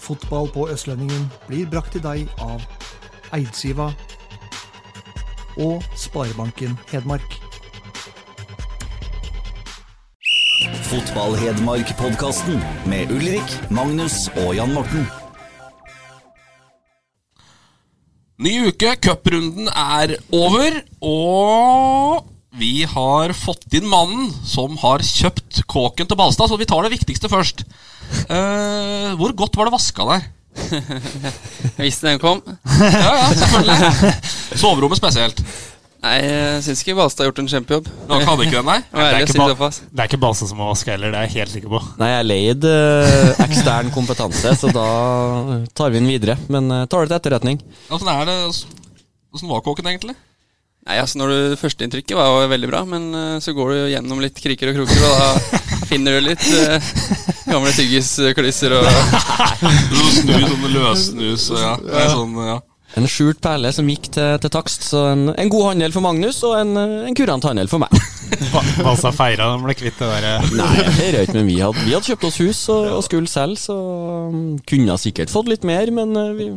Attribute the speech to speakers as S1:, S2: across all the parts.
S1: Fotball på Østlendingen blir brakt til deg av Eidsiva og Sparebanken Hedmark.
S2: Fotball-Hedmark-podkasten med Ulrik, Magnus og Jan Morten.
S3: Ny uke, cuprunden er over, og vi har fått inn mannen som har kjøpt kåken til Balstad, så vi tar det viktigste først. Eh, hvor godt var det vaska der?
S4: Jeg visste den kom.
S3: Ja, ja, selvfølgelig. Soverommet spesielt.
S4: Nei, jeg syns ikke Balstad har gjort en kjempejobb.
S3: Du hadde ikke den der?
S4: Å være ærlig å si
S5: ba-
S4: såpass.
S5: det er ikke Balsa som har vaska heller, det er jeg helt sikker på.
S6: Nei, jeg er leid eh, ekstern kompetanse, så da tar vi den videre. Men eh, tar det til etterretning.
S3: Åssen er det? Åssen var kåken egentlig?
S4: Nei, altså når du, Førsteinntrykket var jo veldig bra, men eh, så går du jo gjennom litt kriker og kroker, og da finner du litt eh, gamle tyggisklisser og
S3: Snu, sånn løssnus og ja. Det er sånn, ja.
S6: En skjult perle som gikk til, til takst. Så en, en god handel for Magnus, og en, eh, en kurant handel for meg.
S5: Ba- Balsa feira de ble kvitt det der. eh,
S6: Nei, jeg feirer ikke, men vi hadde, vi hadde kjøpt oss hus og, og skulle selge, så mm, kunne jeg sikkert fått litt mer, men eh, vi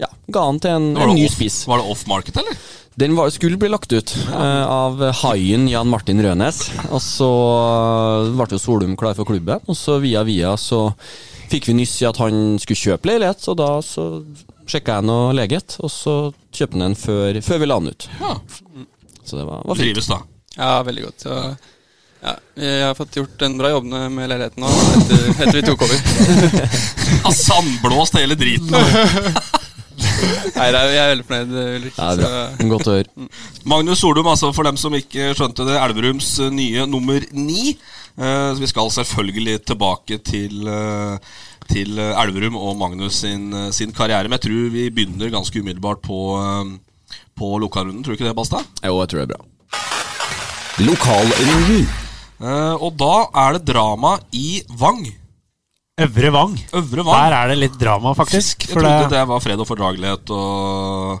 S6: ja, ga han til en,
S3: Var
S6: en
S3: det
S6: ny
S3: off-
S6: spiss.
S3: Var det off market, eller?
S6: Den var, skulle bli lagt ut eh, av haien Jan Martin Rønes. Og så eh, ble jo Solum klar for klubben, og så via via så fikk vi nyss i at han skulle kjøpe leilighet, så da så sjekka jeg noe leget, og så kjøpte han den før, før vi la den ut.
S3: Ja.
S6: Så det var, var fint.
S3: Trives, da.
S4: Ja, veldig godt. Så, ja, jeg har fått gjort en bra jobb med med leiligheten nå, etter, etter vi tok over.
S3: Har sandblåst hele driten.
S4: Nei, det er- jeg er veldig fornøyd, Ulrik.
S6: Ja, det er
S4: så-
S6: bra. Godt å høre.
S3: Magnus Solum, altså for dem som ikke skjønte det, Elverums eh, nye nummer ni. Eh, så vi skal selvfølgelig tilbake til, eh, til eh, Elverum og Magnus sin, eh, sin karriere. Men jeg tror vi begynner ganske umiddelbart på, eh, på lokalrunden, tror du ikke det, Basta?
S6: Jo, jeg tror det er bra.
S2: Lokalrunden.
S3: Eh, og da er det drama i Vang.
S5: Øvre Vang.
S3: Øvre Vang.
S5: Der er det litt drama, faktisk.
S3: Jeg
S5: For
S3: trodde det...
S5: det,
S3: var fred og fordragelighet og eh,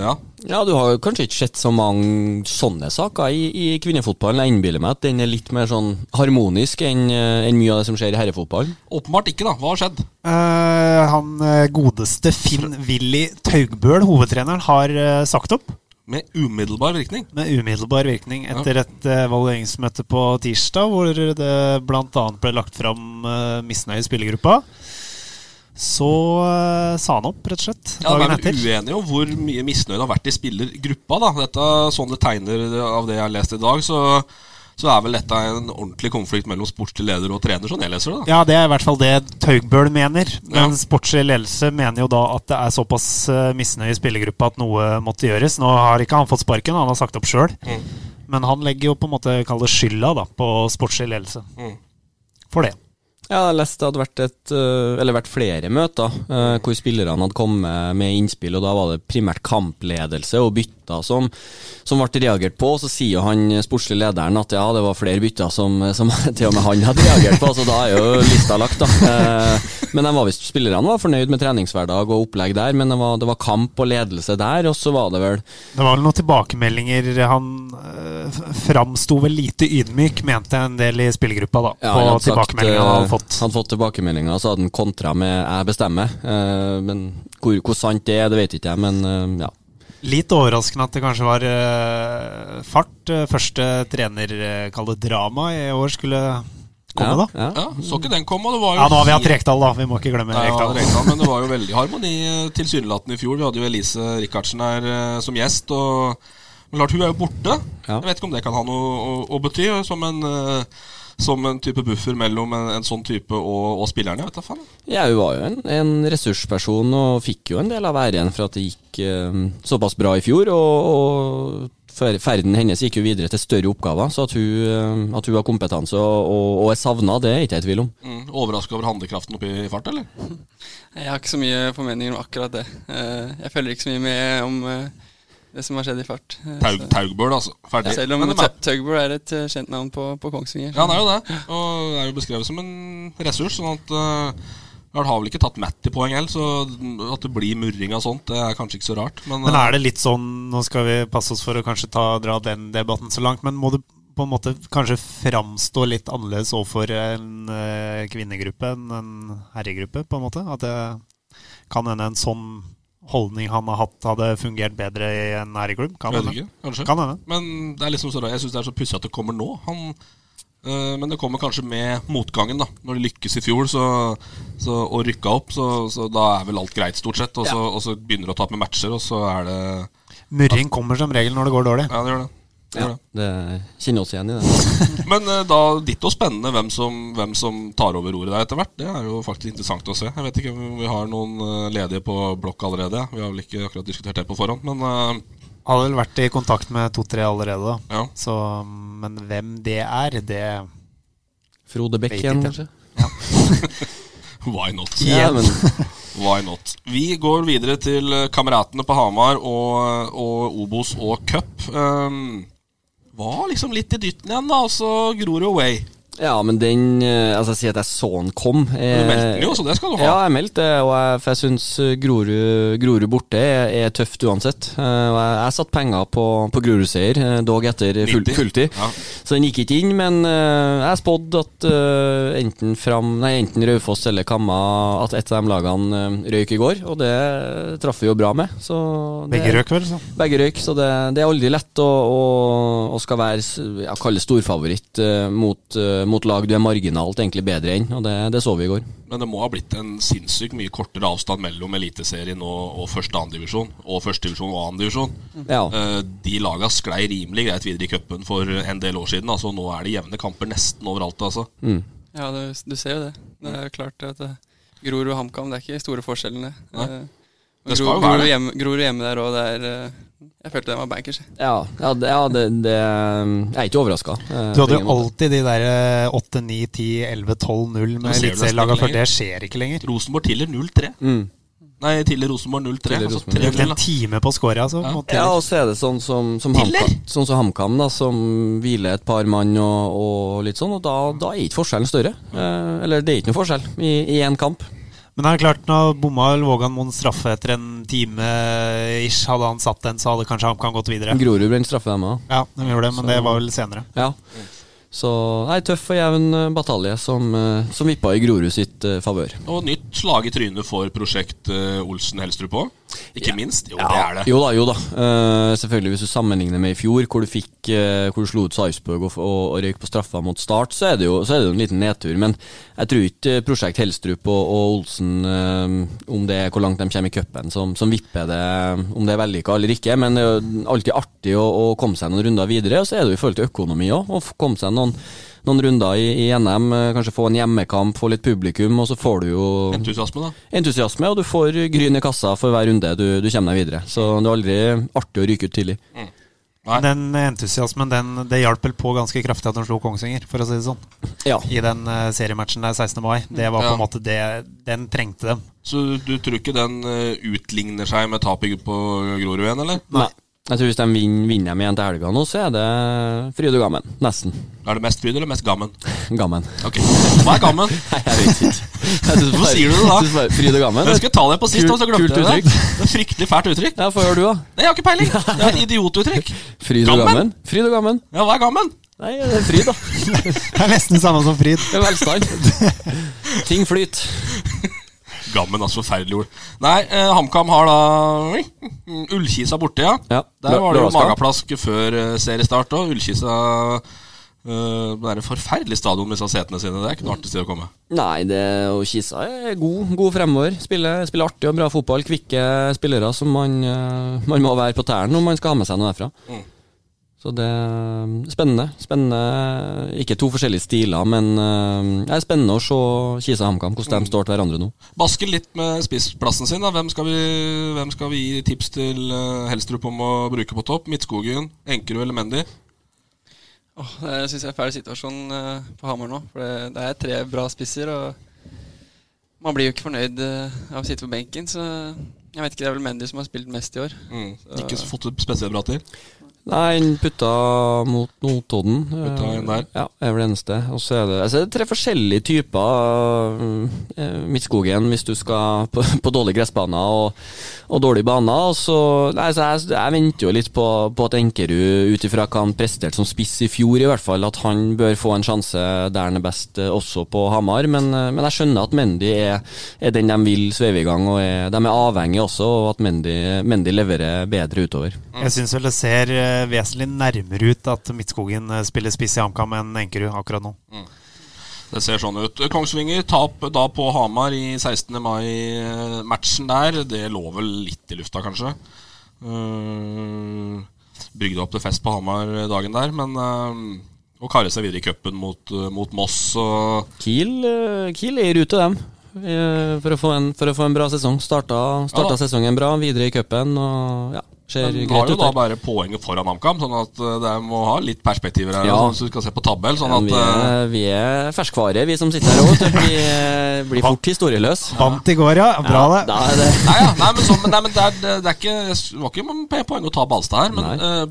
S3: Ja.
S6: Ja, du har jo kanskje ikke sett så mange sånne saker i, i kvinnefotballen. Jeg innbiller meg at den er litt mer sånn harmonisk enn eh, enn mye av det som skjer i herrefotballen.
S3: Åpenbart ikke, da. Hva har skjedd?
S5: Eh, han eh, godeste Finn-Willy Taugbøl, hovedtreneren, har eh, sagt opp.
S3: Med umiddelbar virkning.
S5: Med umiddelbar virkning etter et eh, evalueringsmøte på tirsdag, hvor det bl.a. ble lagt fram eh, misnøye i spillergruppa. Så eh, sa han opp, rett og slett,
S3: Ja,
S5: dagen
S3: men er
S5: etter.
S3: uenige om hvor mye misnøye det har vært i spillergruppa. da Dette, Sånn det tegner av det jeg har lest i dag, så, så er vel dette en ordentlig konflikt mellom sportslig leder og trener, sånn jeg leser det. da
S5: Ja, det er i hvert fall det Taugbøl mener. Men
S3: Ja.
S5: sportslig ledelse mener jo da at det er såpass eh, misnøye i spillergruppa at noe måtte gjøres. Nå har ikke han fått sparken, han har sagt opp sjøl. Men han legger jo på en måte kall det skylda da, på sportslig ledelse. For det.
S6: Ja, jeg leste det hadde vært, et, eh, eller vært flere møter eh, hvor spillerne hadde kommet med innspill, og da var det primært kampledelse og bytter som, som ble reagert på. Og så sier jo han eh, sportslige lederen at ja, det var flere bytter som, som til og med han hadde reagert på, så da er jo lista lagt, da. Eh, Men de var visst, spillerne var fornøyd med treningshverdag og opplegg der, men det var, det var kamp og ledelse der, og så var det vel
S5: Det var vel noen tilbakemeldinger Han eh, f- framsto vel lite ydmyk, mente en del i spillergruppa, da.
S6: Ja,
S5: på
S6: han hadde sagt,
S5: tilbakemeldingene han hadde
S6: eh,
S5: fått.
S6: Han hadde fått tilbakemeldinger, så hadde han kontra med 'jeg bestemmer'. Eh, Men hvor, hvor sant det er, det vet ikke jeg, men eh, ja.
S5: Litt overraskende at det kanskje var eh, fart. eh, Første trener, eh, kall det drama, i år skulle komme, da.
S6: Ja, ja.
S3: Ja, Så ikke den komme. og Det var jo
S5: Ja, nå har vi hatt
S3: helt-
S5: Rekdal, da. Vi må ikke glemme
S3: Ja, ja,
S5: Rekdal.
S3: Rekdal, men det var jo veldig harmoni eh, tilsynelatende i fjor. Vi hadde jo Elise Rikardsen her eh, som gjest. og men klart, Hun er jo borte.
S6: Ja.
S3: Jeg vet ikke om det kan ha noe å, å bety eh, som en, eh, som en type buffer mellom en, en sånn type og, og spillerne. Jeg vet da faen.
S6: Ja, hun var jo en, en ressursperson og fikk jo en del av æren for at det gikk eh, såpass bra i fjor, og, og fer- ferden hennes gikk jo videre til større oppgaver, så at hun, eh, at hun har kompetanse og, og, og er savna, det er ikke jeg i tvil om.
S3: Mm, Overraska over handlekraften oppe i fart, eller?
S4: Jeg har ikke så mye formeninger om akkurat det. Eh, Jeg følger ikke så mye med om eh, det som har skjedd i fart. Eh,
S3: Taug,
S4: så-
S3: Taugbøl, altså. Ferdig.
S4: Selv om
S3: Men de er-
S4: Tau- Taugbøl er et eh, kjent navn på, på Kongsvinger.
S3: Ja, han er jo det. Og er jo beskrevet som en ressurs. Sånn at eh, Han har vel ikke tatt Matt i poeng heller, så at det blir murring av sånt, det er kanskje ikke så rart. Men, eh,
S5: Men er det litt sånn Nå skal vi passe oss for å kanskje ta, dra den debatten så langt, men må du på en måte kanskje framstå litt annerledes overfor en eh, kvinnegruppe enn en herregruppe, på en måte? At det kan hende en sånn holdning han har hatt, hadde fungert bedre i en herreklubb? Kan
S3: Vet
S5: hende.
S3: ikke, kanskje.
S5: Kan hende.
S3: Men det er liksom så rart. jeg syns det er så pussig at det kommer nå. Han, eh, men det kommer kanskje med motgangen, da. Når de lykkes i fjor så, så, og rykka opp, så, så da er vel alt greit, stort sett. Og så, og så begynner du å tape matcher, og så er det
S5: Murring kommer som regel når det går dårlig.
S3: Ja, det gjør det. det, gjør det.
S6: Det kjenner oss igjen i det.
S3: Men eh, da ditto spennende hvem som, hvem som tar over roret der etter hvert. Det er jo faktisk interessant å se. Jeg vet ikke om vi har noen eh, ledige på blokk allerede. Vi har vel ikke akkurat diskutert det på forhånd, men eh,
S5: Hadde vel vært i kontakt med to-tre allerede, da.
S3: ja.
S5: Så, men hvem det er, det
S6: Frode Bekk
S5: Vet
S6: igjen,
S5: ikke.
S6: kanskje?
S3: Why not?
S6: Ja, men
S3: Why not? Vi går videre til eh, kameratene på Hamar og, eh, og Obos og cup. Um, var liksom litt i dytten igjen, da, og så gror det away.
S6: Ja, men den eh, Altså, jeg sier at jeg så den kom.
S3: Men
S6: Du
S3: Du meldte den jo, så det skal du ha.
S6: Eh, Ja, jeg meldte det, og jeg, for jeg syns eh, Grorud, Grorud borte er, er tøft uansett. Eh, Og jeg, jeg satte penger på, på Grorud-seier, eh, dog etter full,
S3: 90.
S6: fulltid.
S3: Ja.
S6: Så den gikk ikke inn, men eh, jeg spådde at eh, enten, fram, nei, enten Raufoss eller Kamma At et av de lagene eh, røyk i går, og det traff vi jo bra med. Så det-
S5: Begge røk, vel? Så.
S6: begge røyk, så det, det er aldri lett å, å, å skal være s- ja, kalle storfavoritt eh, mot, eh, mot lag du er marginalt egentlig bedre enn, og det, det så vi i går.
S3: Men det må ha blitt en sinnssykt mye kortere avstand mellom Eliteserien og, og første- og andredivisjon. Og førstedivisjon og andredivisjon.
S6: Ja.
S3: Eh, de laga sklei rimelig greit videre i cupen for en del år siden. Altså, nå er det jevne kamper nesten overalt. Altså.
S6: Mm.
S4: Ja, du, du ser jo det. Det er jo klart at eh, Grorud og HamKam, det er ikke store forskjellene.
S3: Nei.
S4: Eh,
S3: Det
S4: men
S3: skal
S4: Gro-
S3: jo være
S4: Grorud
S3: det.
S4: hjemme, Grorud hjemme der òg, det er eh, Jeg følte den var bankers. jeg.
S6: Ja, ja, det, ja det, det Jeg er ikke Eh, overraska.
S5: Du hadde jo alltid de der eh, 8, 9, 10, 11, 12, 0
S3: Men ser
S5: med
S3: du det
S5: eliteserielaga
S3: spiller
S5: før. Det skjer ikke lenger.
S3: Rosenborg Tiller 0-3. Nei, Tiller Rosenborg 0-3.
S6: Tiller
S3: Altså
S6: Mm. Rosenborg.
S3: 3-0,
S5: Brukte
S3: da.
S5: en time på å score, altså.
S3: Ja.
S5: mot
S6: Ja,
S5: Tiller.
S6: og så er det sånn som, som HamKam, sånn som HamKam, da, som hviler et par mann og, og litt sånn, og da, da er ikke forskjellen større. Eh, eller det er ikke noe forskjell i i én kamp.
S5: Men det er klart, når bomma Vågan Moen straffe etter en time eh, ish, hadde han satt den, så hadde kanskje HamKam gått videre.
S6: Grorud brant straffe, dem òg.
S5: Ja, de gjorde det, men det var vel senere.
S6: Ja.
S5: Mm.
S6: Så nei, tøff og jevn eh, batalje som, eh, som vippa i Grorud sitt eh, favør.
S3: Og nytt slag i trynet for prosjekt eh, Olsen Helstrup òg. Ikke minst. Jo, det er det.
S6: Jo da, jo da. Eh, selvfølgelig, hvis du sammenligner med i fjor, hvor du fikk eh, Hvor du slo ut Sarpsborg og, og, og røyk på straffa mot Start, så er det jo, så er det jo en liten nedtur. Men jeg tror ikke eh, Prosjekt Helstrup og, og Olsen, eh, om det er hvor langt de kommer i cupen, som, som vipper det, eh, om det er vellykka eller ikke. Men det er jo alltid artig å, å komme seg noen runder videre. Og så er det jo i forhold til økonomi òg, å f- komme seg noen noen runder i, i NM, eh, kanskje få en hjemmekamp, få litt publikum, og så får du jo
S3: Entusiasme, da.
S6: entusiasme, og du får gryn i kassa for hver runde du, du kommer deg videre. Så det er aldri artig å ryke ut tidlig.
S3: Nei.
S5: Den entusiasmen, den, det hjalp vel på ganske kraftig at de slo Kongsvinger, for å si det sånn.
S6: Ja.
S5: I den eh, seriematchen der 16. mai. Det var på
S3: Ja.
S5: en måte det Den trengte dem.
S3: Så du, du tror ikke den eh, utligner seg med tap i- på Grorud igjen, eller?
S6: Nei. Jeg tror hvis de vinner, vinner dem igjen til helga nå, så er det fryd og gammen. Nesten.
S3: Er det mest fryd eller mest gammen?
S6: Gammen.
S3: Ok, Hva er gammen?
S6: Nei, jeg vet ikke. Jeg synes
S3: Hvorfor
S6: bare-
S3: sier du det da?
S6: jeg synes bare Fryd og gammen.
S3: Jeg skulle ta det på sist,
S6: Kult-
S3: og så glemte
S6: kult
S3: jeg det.
S6: uttrykk.
S3: det er fryktelig fælt uttrykk.
S6: Ja, få høre du, da.
S3: Nei, jeg har ikke peiling. Det er et idiotuttrykk.
S6: Fryd og
S3: Gammen?
S6: gammen. Fryd og gammen.
S3: Ja, hva er gammen?
S6: Nei, det er fryd, da.
S5: Det er nesten det samme som Frid.
S6: Det er velstand. Ting flyter.
S3: Gammen, altså forferdelig ord. Nei, eh, HamKam har da Mm, Ullkisa borte, ja.
S6: Ja,
S3: Der var det jo
S6: lørdagskamp.
S3: mageplask før eh, seriestart òg. Ullkisa eh, Det er et forferdelig stadion med disse setene sine. Det er ikke noe artig sted å komme.
S6: Nei, det, og Kisa er god, god fremover. Spiller, spiller artig og bra fotball. Kvikke spillere som man, eh, man må være på tærne om man skal ha med seg noe derfra. Så det er spennende. spennende. Ikke to forskjellige stiler, men eh, det er spennende å se Kisa-HamKam, hvordan de står til hverandre nå.
S3: Baske litt med spissplassen sin. da Hvem skal vi, hvem skal vi gi tips til eh, Helstrup om å bruke på topp? Midtskogen, Enkerud eller Mendy? Eh,
S4: Åh, det er- synes jeg er fæl situasjon eh, på Hamar nå. For det, det er tre bra spisser, og man blir jo ikke fornøyd eh, av å sitte på benken. Så jeg vet ikke, det er vel Mendy som har spilt mest i år. Så-
S3: Ikke så fått det spesielt bra til.
S6: Nei, han putta mot Notodden.
S3: Putta en der.
S6: Ja, er vel det eneste. Og så er det, altså, det er tre forskjellige typer. eh, Midtskogen hvis du skal på, på dårlige gressbaner og, og dårlige baner. Og så, nei, så jeg, jeg venter jo litt på, på at Enkerud, ut ifra hva han presterte som spiss i fjor, i hvert fall, at han bør få en sjanse der han er best, eh, også på Hamar. Men, eh, men jeg skjønner at Mendy er, er den de vil sveive i gang, og er, de er avhengig også, og at Mendy, Mendy leverer bedre utover.
S5: Jeg syns vel det ser eh, vesentlig nærmere ut at Midtskogen eh, spiller spiss i HamKam enn Enkerud akkurat nå.
S3: Det ser sånn ut. Kongsvinger tap da på Hamar i 16. mai-matchen der. Det lå vel litt i lufta, kanskje. Uh, brygde opp til fest på Hamar dagen der, men eh, å karre seg videre i cupen mot, eh, mot Moss og
S6: Kiel, eh, Kiel er i rute, dem. eh, For å få en, for å få en bra sesong. Starta, starta
S3: Ja da.
S6: sesongen bra, videre i cupen og ja, ser
S3: Men har
S6: greit
S3: jo
S6: ut.
S3: da
S6: der.
S3: bare poenget foran HamKam, sånn at eh, det må ha litt perspektiver her.
S6: Ja.
S3: altså, Hvis du skal se på tabell, sånn
S6: Men
S3: at
S6: vi,
S3: eh,
S6: er, vi er ferskvare, vi som sitter her òg. Vi eh, blir fort historieløs.
S5: Vant i går, ja. Bra,
S6: Ja,
S5: det.
S6: da er det.
S3: Nei, ja, nei, men, så, men, nei, men det, er, det, det er ikke Det var ikke mange poeng å ta Balstad her, men eh,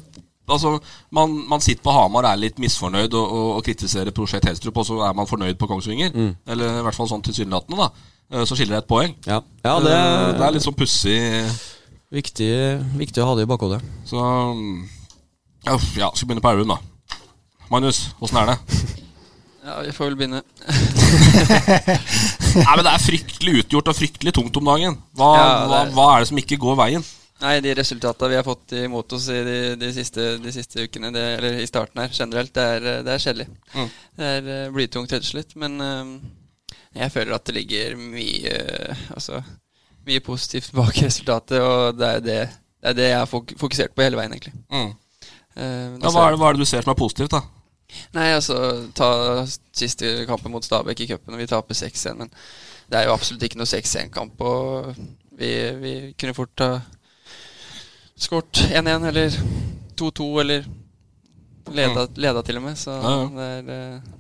S3: altså, man, man sitter på Hamar og er litt misfornøyd og, og, og kritiserer Prosjekt Helstrup, og så er man fornøyd på Kongsvinger. Eller i hvert fall sånn tilsynelatende, da. Eh, Så skiller det et poeng.
S6: Ja, ja
S3: Eh,
S6: det
S3: det er
S6: er
S3: litt sånn pussig.
S6: viktig, viktig å ha det i bakhodet.
S3: Så mm, uff, Ja, skal begynne på Elverum, da. Magnus, åssen er det?
S4: Ja, vi får vel begynne.
S3: Nei, men Det er fryktelig utgjort og fryktelig tungt om dagen. Hva,
S4: Ja, det
S3: hva,
S4: er-
S3: hva er det som ikke går veien?
S4: Nei, de resultatene vi har fått imot oss i de, de, siste, de siste ukene, det, eller i starten her generelt, det er, eh, det er kjedelig.
S3: Mm.
S4: Det er eh, blytungt rett og slett, men eh, jeg føler at det ligger mye eh, Altså mye positivt bak resultatet, og det er det, det, er det jeg har fok fokusert på hele veien, egentlig.
S3: Mm.
S4: Eh,
S3: Ja, hva, er det, hva er det du ser som er positivt, da?
S4: Nei, altså Ta siste kampen mot Stabæk i cupen, og vi taper 6-1. Men det er jo absolutt ikke noe 6-1-kamp, og vi, vi kunne fort ha skåret 1-1 eller 2-2 eller leda, leda til og med, så
S3: Ja, ja.
S4: det er eh,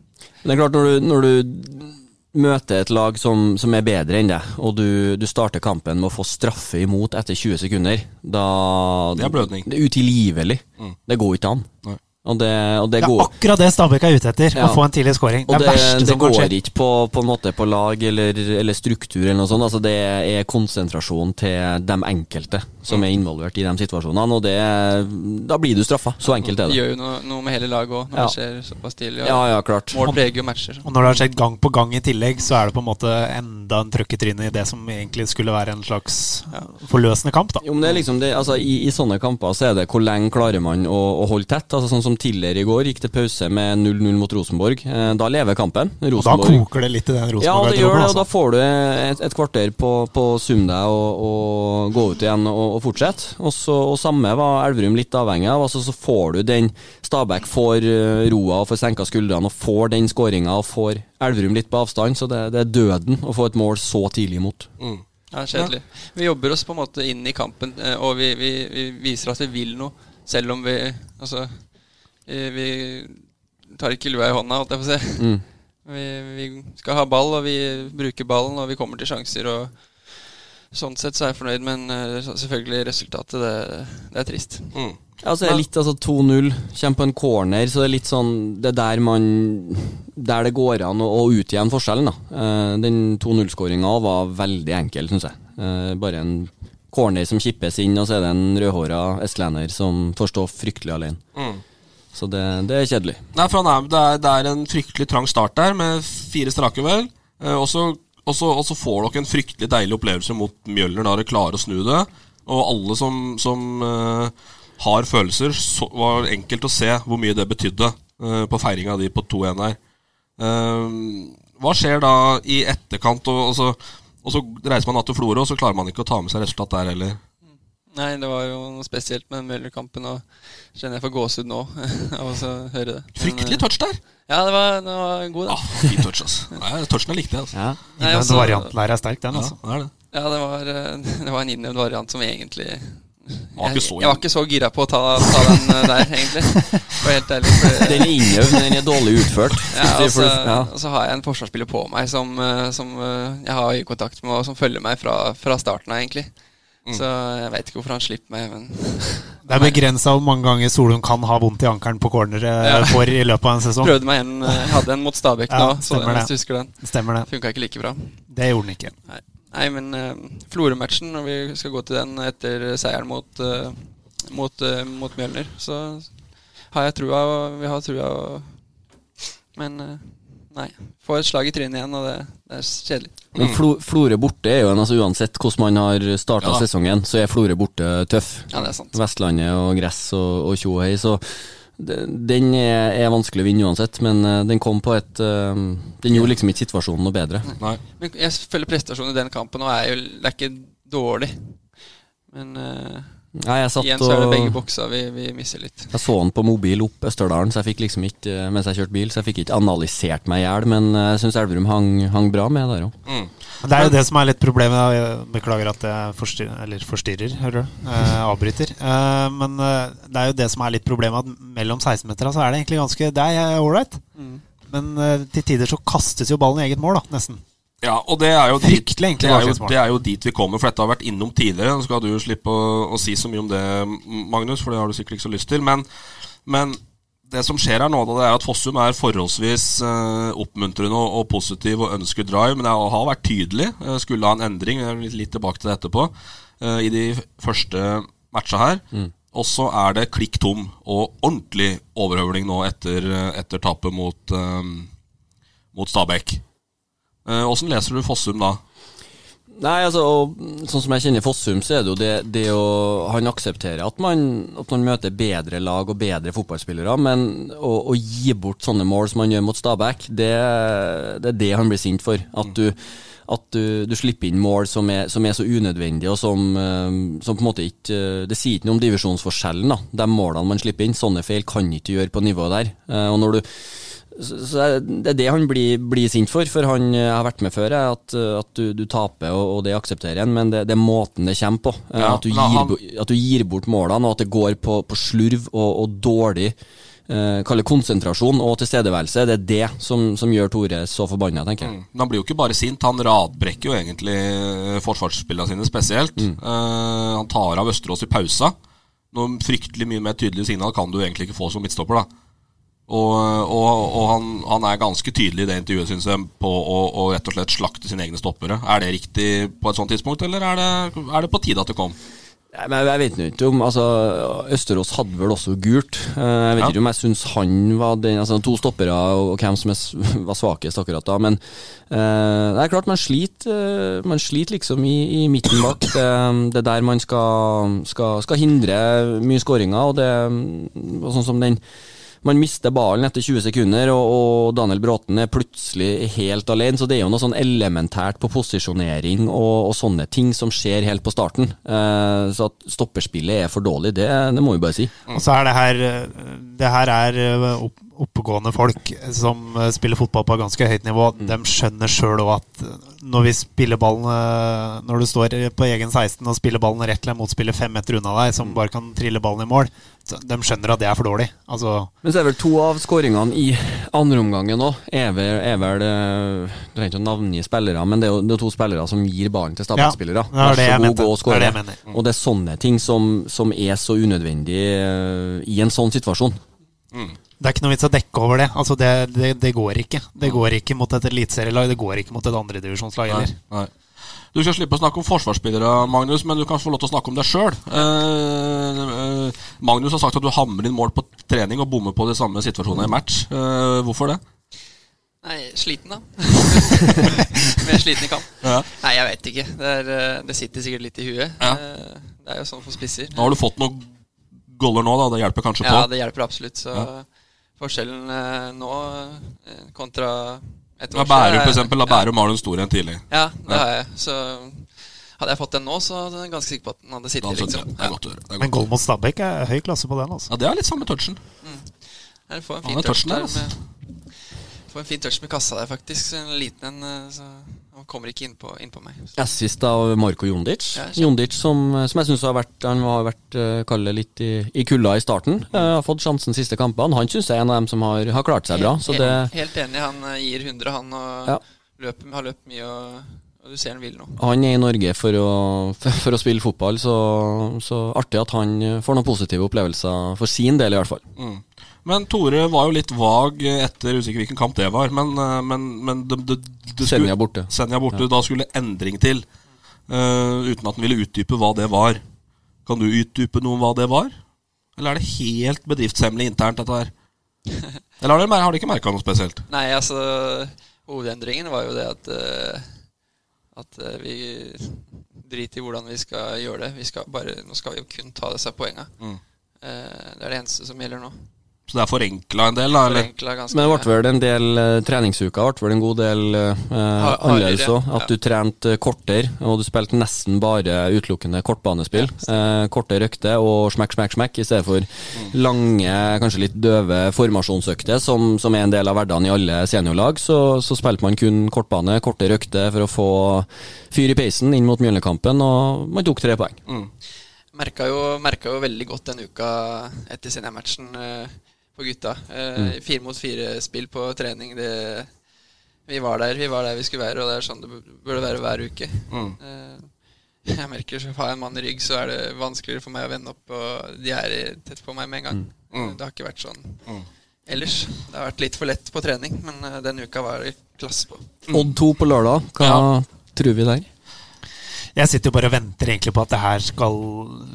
S6: Men det er klart, når du, når du møter et lag som, som er bedre enn deg, og du, du starter kampen med å få straffe imot etter 20 sekunder, da
S3: Det er blødning.
S6: Det er utilgivelig. Det går ikke an.
S3: Nei.
S6: Og det, og det
S5: Det er
S6: går
S5: akkurat det Stabæk er ute etter.
S6: Ja.
S5: Å få en tidlig scoring. Det
S6: Og
S5: er
S6: det,
S5: verste
S6: det
S5: som kan
S6: går
S5: skje.
S6: ikke på, på en måte på lag eller, eller struktur eller noe sånt. Altså det er konsentrasjon til de enkelte som er involvert i de situasjonene, og det, da blir du straffa. Så enkelt er
S4: Det
S6: det.
S4: gjør jo noe, noe med hele laget òg, når
S6: Ja.
S4: det skjer såpass tidlig. og
S6: Ja, ja, klart.
S4: Mål preger jo matcher.
S5: Og når det har skjedd gang på gang i tillegg, så er det på en måte enda en trøkk i trynet i det som egentlig skulle være en slags forløsende kamp, da.
S6: Jo, men det er liksom det, altså, i, I sånne kamper så er det hvor lenge klarer man å, å holde tett. Altså Sånn som tidligere i går gikk det pause med 0-0 mot Rosenborg. Eh, da lever kampen.
S5: Og da
S6: Rosenborg
S5: koker det litt i den
S6: Ja, det
S5: Rosenborg-garderoben.
S6: gjør det, og da
S5: altså.
S6: får du et, et kvarter på, på å summe deg og, og gå ut igjen og, og fortsette. Og, så, og samme var Elverum litt avhengig av. Altså, så får du den Stabæk får eh, roa og får senka skuldrene og får den skåringa og får Elverum litt på avstand, så det, det er døden å få et mål så tidlig imot.
S4: Ja, kjedelig. Vi jobber oss på en måte inn i kampen, eh, og vi, vi, vi viser at vi vil noe, selv om vi Altså, eh, vi tar ikke lua i hånda, holdt jeg på å si. Vi, vi skal ha ball, og vi bruker ballen, og vi kommer til sjanser, og Sånn sett så er jeg fornøyd, men eh, så- selvfølgelig resultatet, det, det er trist.
S6: Ja, så er det litt, altså 2-0, kommer på en corner, så det er litt sånn Det er der man Der det går an å, å utjevne forskjellen, da. Eh, den 2-0-skåringa var veldig enkel, syns jeg. Eh, bare en corner som kippes inn, og så er det en rødhåra estlender som får stå fryktelig alene. Så det, det er kjedelig.
S3: Nei, for han er, det, er, det er en fryktelig trang start der, med fire strake, vel. Eh, og så- og så og så får dere en fryktelig deilig opplevelse mot Mjølner, da dere klarer å snu det. Og alle som, som eh, har følelser, så var det enkelt å se hvor mye det betydde eh, på feiringa di på 2-1 der. Eh, hva skjer da i etterkant? Og, og, så, og så reiser man da til Florø, og så klarer man ikke å ta med seg resultat der heller.
S4: Nei, det var jo noe spesielt med den Møller-kampen, og kjenner jeg får gåsehud nå av å så høre det. Men,
S3: Fryktelig
S4: eh,
S3: touch der!
S4: Ja, det var, det var en god,
S3: Ja,
S4: da.
S3: fin touch, altså. Nei, touchen jeg likte, jeg, altså.
S6: Ja.
S4: Nei,
S5: Den
S4: altså-
S5: varianten der er sterk, den. altså.
S3: Ja, det er det.
S4: Ja, det var, eh, det var en innøvd variant som egentlig jeg,
S3: Var ikke så
S4: jeg var ikke så gira på å ta, ta den eh, der, egentlig. For helt ærlig. For,
S6: Den er innøvd, men den er dårlig utført.
S4: ja, altså,
S6: Du
S4: og, så,
S6: får- ja.
S4: og så har jeg en forsvarsspiller på meg som, eh, som eh, jeg har høy kontakt med, og som følger meg fra, fra starten av, egentlig. Så jeg veit ikke hvorfor han slipper meg, men
S5: Det er begrensa hvor mange ganger Solum kan ha vondt i ankelen på corneret
S4: Ja.
S5: for i løpet av en sesong.
S4: prøvde meg igjen. eh, Jeg hadde en mot Stabæk
S5: Ja,
S4: nå, så
S5: stemmer det.
S4: hvis du husker den.
S5: Stemmer det.
S4: Funka ikke like bra.
S5: Det gjorde den ikke.
S4: Nei, Nei men eh, Florø-matchen, når vi skal gå til den etter seieren mot, eh, mot, eh, mot Mjølner, så har jeg trua, og vi har trua. Og, men eh, nei. Får et slag i trynet igjen, og det, det er kjedelig.
S6: Men Flo, Florø borte er jo en, altså uansett hvordan man har starta
S3: Ja.
S6: sesongen, så er Florø borte tøff.
S4: Ja, det er sant.
S6: Vestlandet og gress og og tjo og hei, så de- den er, er vanskelig å vinne uansett, men eh, den kom på et eh, Den gjorde liksom ikke situasjonen noe bedre.
S3: Nei.
S4: Men jeg føler prestasjonen i den kampen, og er jo, det er ikke dårlig. Men eh,
S6: Nei, jeg satt
S4: igjen så er det begge
S6: og
S4: boksa vi, vi mister litt.
S6: jeg så den på mobil opp Østerdalen så jeg fikk liksom ikke, eh, mens jeg kjørte bil, så jeg fikk ikke analysert meg i hjel. Men eh, jeg syns Elverum hang, hang bra med der òg.
S5: Men det er jo det som er litt problemet. da. Jeg beklager at jeg forstyrrer, eller forstyrrer hører du? Eh, avbryter. Eh, men eh, det er jo det som er litt problemet, at mellom 16-metera så er det egentlig ganske Det er ålreit.
S4: Mm.
S5: Men eh, til tider så kastes jo ballen i eget mål, da, nesten.
S3: Ja, og det er jo dit,
S5: Fryktelig
S3: det
S5: enkle
S3: er jo,
S5: baklengsmål.
S3: det er jo dit vi kommer, for dette har vært innom tidligere. Nå skal du jo slippe å, å si så mye om det, Magnus, for det har du sikkert ikke så lyst til. Men, men det som skjer her nå, da, det er at Fossum er forholdsvis eh, oppmuntrende og, og positiv og ønsker drive, men det har- har vært tydelig. Eh, skulle ha en endring, jeg er litt- litt tilbake til det etterpå, eh, i de første matcha her. Og så er det klikk tom og ordentlig overhøvling nå etter, eh, etter tapet mot, eh, mot Stabæk. Eh, Åssen leser du Fossum da?
S6: Nei, altså, og, sånn som jeg kjenner Fossum, så er det jo det, det å Han aksepterer at man, at man møter bedre lag og bedre fotballspillere, men å, å gi bort sånne mål som han gjør mot Stabæk, det, det er det han blir sint for. At du, at du, du slipper inn mål som er, som er så unødvendige, og som, eh, som på en måte ikke eh, Det sier ikke noe om divisjonsforskjellen, da. De målene man slipper inn. Sånne feil kan ikke du gjøre på nivået der. Eh, Og når du så så er det det er det han blir, blir sint for, for han eh, har vært med før, eh, at, eh, at du, du taper, og, og det aksepterer han, men det, det er måten det kommer på. eh,
S3: Ja,
S6: at, du
S3: men
S6: gir,
S3: han-
S6: bo- at du gir bort målene, og at det går på, på slurv og, og dårlig eh, kall det konsentrasjon og tilstedeværelse. Det er det som, som gjør Tore så forbanna, tenker jeg.
S3: Men han blir jo ikke bare sint, han radbrekker jo egentlig eh, forsvarsspillene sine spesielt. Eh, han tar av Østerås i pausa. Noe fryktelig mye mer tydelig signal kan du egentlig ikke få som midtstopper, da. Og, og, og han, han er ganske tydelig i det intervjuet, syns jeg, på å, å rett og slett slakte sine egne stoppere. Er det riktig på et sånt tidspunkt, eller er det, er det på tide at det kom?
S6: Nei, Men jeg, jeg vet nå ikke om altså, Østerås hadde vel også gult. Eh, Jeg vet
S3: Ja.
S6: ikke om jeg syns han var den altså, To stoppere og og hvem som er, s- var svakest akkurat da. Men eh, det er klart, man sliter, eh, man sliter liksom i, i midten bak. Det, det er der man skal, skal, skal hindre mye skåringer, og det og sånn som den man mister ballen etter 20 sekunder, og, og Daniel Bråten er plutselig helt alene. Så det er jo noe sånn elementært på posisjonering og, og sånne ting som skjer helt på starten. Eh, så at stopperspillet er for dårlig, det, det må vi bare si.
S5: Og så er det her eh, Det her er eh, opp, oppegående folk som eh, spiller fotball på et ganske høyt nivå. De skjønner sjøl òg at eh, når vi spiller ballen eh, Når du står eh, på egen 16 og spiller ballen rett til en motspiller fem meter unna deg, som bare kan trille ballen i mål, så de skjønner at det er for dårlig. Altså
S6: Men så er vel to av skåringene i andre omgangen òg, er vel, er vel eh, Du trenger ikke å navngi spillere, men det er jo det er to spillere som gir ballen til Stabæk-spillere.
S5: Ja, det er det jeg
S6: Vær så god,
S5: mente.
S6: gå og
S5: Det er det jeg
S6: skåre.
S5: mener. Mm.
S6: Og det er sånne ting som, som er så unødvendig eh, i en sånn situasjon.
S5: Det er ikke noe vits å dekke over det. Altså, det, det, det går ikke. Det går ikke mot et eliteserielag, det går ikke mot et andredivisjonslag heller.
S3: Nei. Du skal slippe å snakke om forsvarsspillere, Magnus, men du kan få lov til å snakke om deg sjøl. Magnus har sagt at du hamrer inn mål på trening og bommer på de samme situasjonene i match. Eh, hvorfor det?
S4: Nei, sliten, da. Mer sliten i kamp. Nei, jeg veit ikke. Det, er, eh, det sitter sikkert litt i huet.
S3: Ja.
S4: Eh, Det er jo sånn for spisser.
S3: Nå har du fått noen goller nå, da. Det hjelper kanskje på.
S4: Ja, det hjelper absolutt. Så forskjellen eh, nå eh, kontra et
S3: Ja, Bærum,
S4: år siden
S3: for
S4: er-
S3: eksempel. Da Bærum har du en stor en tidlig.
S4: Ja, det har jeg. Så Hadde jeg fått den nå, så hadde jeg ganske sikker på at den hadde
S3: Da
S4: sittet.
S3: skjønner jeg.
S4: liksom.
S3: Det er godt å høre. Det er
S5: Men
S3: godt å
S5: gold mot Stabæk er høy klasse på den. altså.
S3: høre. Ja, det er litt samme touchen.
S4: Her får en
S3: Han
S4: fin
S3: er
S4: touch
S3: touchen der,
S4: der.
S3: altså.
S4: Med, får en fin touch med kassa der, faktisk. En liten en, eh, så han kommer ikke innpå inn på meg.
S6: Assist av Marko Jondic.
S4: Ja, kjempe.
S6: Jondic som, som jeg syns har vært Han har vært eh, kall det litt i, i kulda i starten.
S4: Mm.
S6: Eh, har fått sjansen de siste kampene. Han syns jeg er en av dem som har, har klart seg bra. Så det
S4: helt, helt enig. Han eh, gir 100, han, og
S6: Ja.
S4: løper, har løpt mye. Og, og du ser han vil nå.
S6: han er i Norge for å, for å spille fotball, så, så artig at han eh, får noen positive opplevelser for sin del, i hvert fall.
S3: Mm. Men Tore var jo litt vag etter usikker hvilken kamp det var. Men, eh, men, men det, det, det skulle-
S6: Senja borte.
S3: Senja borte. Da skulle endring til. eh, uten at han ville utdype hva det var. Kan du utdype noe om hva det var? Eller er det helt bedriftshemmelig internt, dette her? Eller har dere mer- har dere ikke merka noe spesielt?
S4: Nei, altså Hovedendringen var jo det at eh, At eh, vi driter i hvordan vi skal gjøre det. Vi skal bare, nå skal vi jo kun ta disse poenga.
S6: Mm.
S4: Eh, det er det eneste som gjelder nå.
S3: Så det er forenkla en del, da? Eller?
S4: Forenkla ganske
S6: Men det ble vel en del eh, treningsuker, ble vel en god del eh, annerledes
S4: hardere,
S6: òg. At du trente kortere, og du spilte nesten bare utelukkende kortbanespill. Eh, korte røkter og smekk, smekk, smekk, i stedet for lange, kanskje litt døve formasjonsøkter, som, som er en del av hverdagen i alle seniorlag. Så, så spilte man kun kortbane, korte røkter for å få fyr i peisen inn mot Mjølnekampen, og man tok tre poeng.
S4: Merka jo, merka jo veldig godt den uka etter seniormatchen eh, på gutta. Eh, Fire mot fire-spill på trening. Det, vi var der vi var der vi skulle være, og det er sånn det bu- burde være hver uke. Eh, jeg merker så Har jeg en mann i rygg, så er det vanskeligere for meg å vende opp. Og de er i- tett på meg med en gang. Eh, Det har ikke vært sånn ellers. Det har vært litt for lett på trening, men eh, den uka var det klasse på.
S6: Odd 2 på lørdag, hva
S3: Ja.
S6: tror vi der?
S5: Jeg sitter jo bare og venter egentlig på at det her skal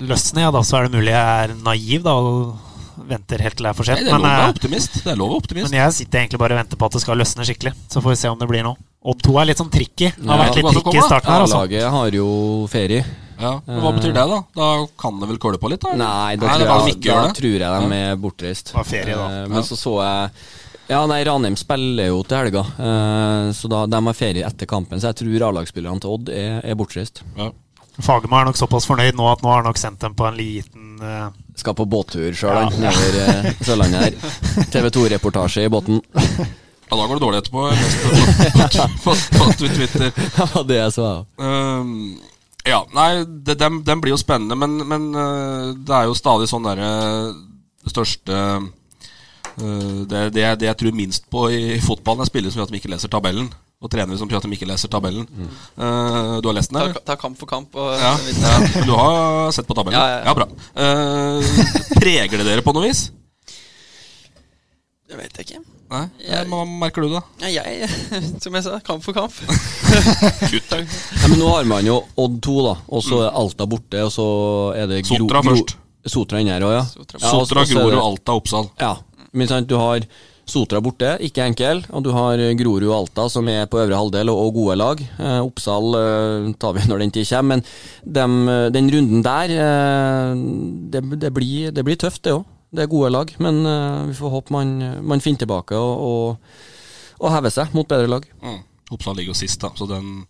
S5: løsne. Ja, da, så er det mulig jeg er naiv da, og venter helt til det er for
S3: Nei,
S5: sent.
S3: det er lov å
S5: Men,
S3: være
S5: eh,
S3: optimist. Det er lov å være optimist.
S5: men jeg sitter egentlig bare og venter på at det skal løsne skikkelig. Så får vi se om det blir noe. Odd 2 er litt sånn tricky. Det
S3: Ja,
S5: har vært litt
S3: hva som
S5: tricky
S3: kommer,
S5: i
S3: da?
S5: starten her, altså.
S6: Laget har jo ferie.
S3: Ja, men Hva betyr det, da? Da kan det vel kåle på litt? da?
S6: Nei, da,
S3: det var de
S6: tror, jeg,
S3: ikke
S6: da
S3: gjør det.
S6: tror jeg de er bortreist.
S5: Det var ferie, da.
S6: Eh, Men så så jeg Ja, nei, Ranheim spiller jo til helga, eh, så da, de har ferie etter kampen. Så jeg tror A-lagsspillerne til Odd er, er bortreist.
S3: Ja.
S5: Fagermo er nok såpass fornøyd nå at nå har han nok sendt dem på en liten eh,
S6: Skal på båttur sjøl, han, nedover eh, Sørlandet her. TV 2-reportasje i båten.
S3: ja, da går det dårlig etterpå. jeg leste På, på, på, på Twitter.
S6: Det var det jeg så. ja.
S3: Ehm, ja, nei, det, dem, dem blir jo spennende, men, men eh, det er jo stadig sånn derre Det største eh, det, det, det jeg tror minst på i, i fotballen, er spillere som gjør at de ikke leser tabellen. Og trenere som gjør at de ikke leser tabellen. Eh, du har lest den,
S4: Ta,
S3: eller?
S4: ta kamp for kamp. Og,
S3: Ja. ja. Du har sett på tabellen?
S4: Ja, ja, ja.
S3: bra. Eh, preger det dere på noe vis?
S4: Det vet jeg ikke.
S3: Nei? Eh, Hva merker du, da?
S4: Ja, jeg, som jeg sa, kamp for kamp.
S3: Kutt deg.
S6: Ja, men nå har man jo Odd 2, da, og så er Alta borte, og så er det Gro-
S3: Sotra
S6: Gro-
S3: først.
S6: Sotra inne her òg, ja.
S4: Sotra.
S6: ja og så-
S3: Sotra,
S6: og så er
S3: Grorud,
S6: det-
S3: Alta, Oppsal.
S6: Ja, men sant, du har Sotra borte, ikke enkel, og du har Grorud og Alta som er på øvre halvdel og, og gode lag. Eh, Oppsal eh, tar vi når den tid kommer, men dem, eh, den runden der, eh, det, det, blir, det blir tøft det òg. Det er gode lag, men eh, vi får håpe man, man finner tilbake og, og, og hever seg mot bedre lag.
S3: Mm. Oppsal ligger jo sist, da, så den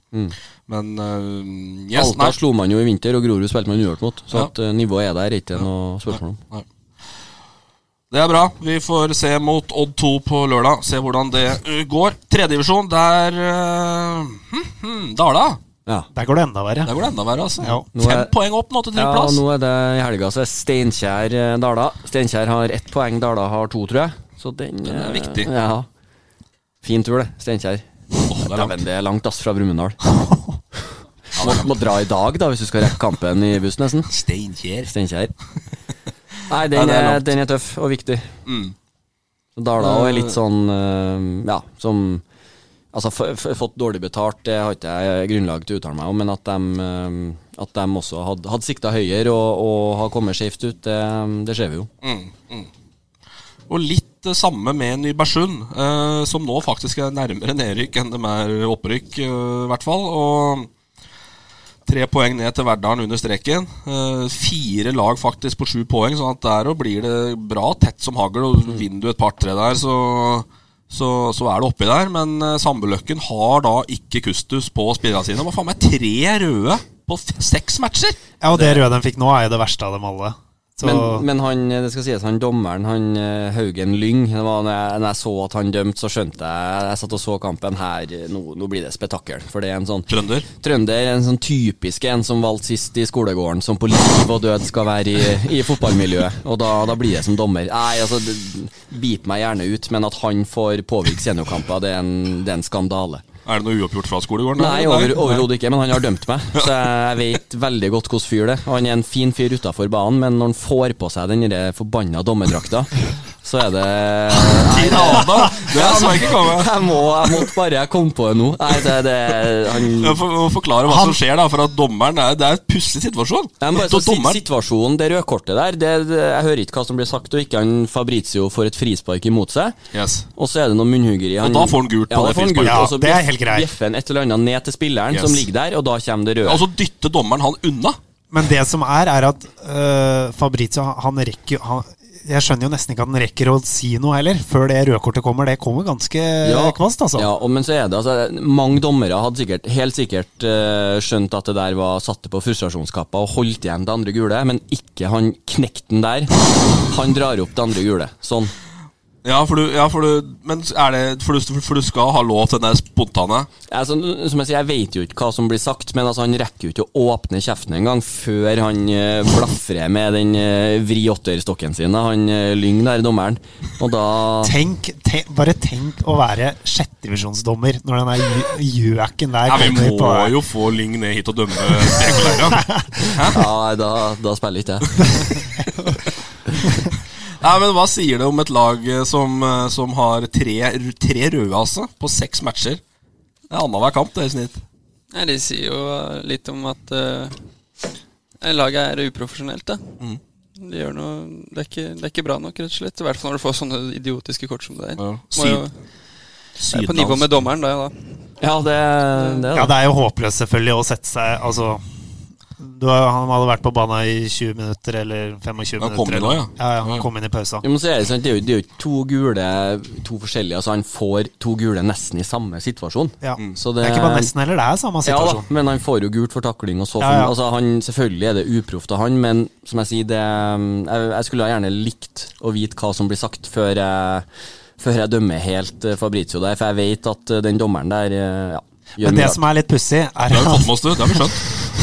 S3: Men eh, yes,
S6: Alta
S3: nei.
S6: slo man jo i vinter, og Grorud spilte man uavgjort mot, så
S3: Ja.
S6: at eh, nivået er der, er ikke noe spørsmål om.
S3: Nei. Det er bra. Vi får se mot Odd 2 på lørdag. Se hvordan det uh, går. Tredjedivisjon, der uh, hm, hm, Dala.
S6: Ja.
S5: Der går det enda verre.
S3: Der går det enda verre, altså.
S5: Ja.
S6: Nå
S3: Fem
S6: er-
S3: poeng opp nå til
S6: Ja,
S3: tredjeplass.
S6: nå er det i helga, så er Steinkjer eh, Dala. Steinkjer har ett poeng, Dala har to, tror jeg. Så den,
S3: Den er
S6: eh,
S3: viktig.
S6: Ja. Fin tur, det. Steinkjer.
S3: Åh, det er langt.
S6: Dæven, det er langt, ass, fra Brumunddal. må, må dra i dag, da, hvis du skal rekke kampen i buss, nesten.
S3: Steinkjer.
S6: Steinkjer.
S3: Ja,
S6: Nei, den,
S3: det er
S6: er,
S3: langt.
S6: den er tøff og viktig.
S3: Mm.
S6: Dala òg er litt sånn eh, Ja, som Altså, f f fått dårlig betalt, det har ikke jeg grunnlag til å uttale meg om, men at de, eh, at dem også hadde, hadde sikta høyere og, og har kommet skjevt ut, det, det ser vi jo.
S3: Mm, mm. Og litt det samme med Nybergsund, eh, som nå faktisk er nærmere nedrykk enn de er opprykk, eh, i hvert fall. Og tre poeng ned til Verdalen under streken. Eh, fire lag faktisk på sju poeng, sånn at der og blir det bra tett som hagl. Og
S6: Mm.
S3: vinner du et par-tre der, så, så, så er det oppi der. Men eh, Sandbøløkken har da ikke kustus på spillerne sine. Hva faen meg tre røde på f- seks matcher!
S5: Ja, og det røde de fikk nå, er jo det verste av dem alle. Så
S6: Men, men han, det skal sies, han dommeren, han eh, Haugen Lyng det var, når, jeg, når jeg så at han dømte, så skjønte jeg Jeg satt og så kampen her. eh, Nå, nå blir det spetakkel. For det er en sånn
S3: Trønder.
S6: Trønder er en sånn typisk en som valgte sist i skolegården, som på liv og død skal være i, i fotballmiljøet. Og da, da blir jeg som dommer. Nei, altså, det- bit meg gjerne ut, men at han får påvirke seniorkamper, det er en, det er en skandale.
S3: Er det noe uoppgjort fra skolegården?
S6: Nei, over, overhodet ikke, men han har dømt meg, så jeg vet veldig godt hvordan fyr det er. Og han er en fin fyr utafor banen, men når han får på seg den der forbanna dommerdrakta, så er det Nei,
S3: Tirada! Det så jeg ikke komme.
S6: jeg må, jeg måtte bare Jeg kom på det nå. Nei, det, det han,
S3: Jeg får- må forklare hva som skjer, da, for at dommeren er, det er et pussig situasjon.
S6: Ja, men bare
S3: Da
S6: så sit-
S3: dommeren
S6: Situasjonen, det røde kortet der, det, det, jeg hører ikke hva som blir sagt, og ikke han Fabrizio får et frispark imot seg.
S3: Yes.
S6: Og så er det noe munnhuggeri.
S3: Og da får han gult på
S6: ja,
S3: det
S6: da får han
S3: frisparket.
S6: gult, og så
S5: Ja, det er
S6: bjeff-
S5: helt greit.
S6: bjeffer han et eller annet ned til spilleren
S3: Yes.
S6: som ligger der, og da kommer det røde.
S3: Og så dytter dommeren han unna.
S5: Men det som er, er at øh, Fabrizio, han rekker jo- han, Jeg skjønner jo nesten ikke at han rekker å si noe heller, før det rødkortet kommer. Det kommer ganske kvast, altså.
S6: Ja, og, men så er det altså, Mange dommere hadde sikkert, helt sikkert eh, skjønt at det der var satte på frustrasjonskappa og holdt igjen det andre gule, men ikke han knekten der. Han drar opp det andre gule. Sånn.
S3: Ja, for du, ja, for du Men er det for du, for du skal ha lov til den der spontane
S6: Altså, som jeg sier, jeg vet jo ikke hva som blir sagt, men altså, han rekker jo ikke å åpne kjeften engang før han uh, blafrer med den eh, vri åtterstokken sin. da. Han uh, lyng der, dommeren. Og da
S5: Tenk, tenk, bare tenk å være sjettedivisjonsdommer når den der gjø- gjøken der
S3: Ja, Vi
S5: kommer på
S3: må jo få Lyng ned hit og dømme Spekolæra.
S6: Ja, da, da spiller ikke jeg.
S3: Nei, men Hva sier det om et lag eh, som, eh, som har tre, tre røde altså, på seks matcher? Det er annenhver kamp det er i snitt.
S4: Nei, De sier jo eh, litt om at eh, laget er uprofesjonelt. Da. De gjør noe, det, er ikke, det er ikke bra nok, rett og slett. I hvert fall når du får sånne idiotiske kort som det der.
S3: Ja.
S4: Må jo, det er på nivå med dommeren, da. da.
S6: Ja, det, det,
S5: Ja,
S6: da.
S5: det er jo håpløst selvfølgelig å sette seg Altså du, har- Han hadde vært på banen i 20 minutter eller 25
S3: Han
S5: minutter.
S3: kom inn
S5: eller-
S3: nå, ja.
S5: Ja, ja, han kom inn i pausa.
S6: Jo, men så er det, sant, det, er jo, det er jo to gule, to forskjellige Altså, han får to gule nesten i samme situasjon.
S5: Ja.
S6: Så
S5: Det er ikke bare nesten heller, det er samme
S6: Ja da,
S5: situasjon.
S6: men han får jo gult for takling og så
S5: Ja, ja.
S6: Altså, han, Selvfølgelig er det uproft av han, men som jeg sier, det um, jeg, jeg skulle gjerne likt å vite hva som blir sagt før jeg, før jeg dømmer helt eh, Fabrizio der, for jeg vet at eh, den dommeren der eh, ja, gjør
S5: men
S6: mye
S5: det
S6: rart.
S5: som er litt pussig, er
S3: Det har vi fått
S5: at
S3: med oss, du. Det har vi skjønt.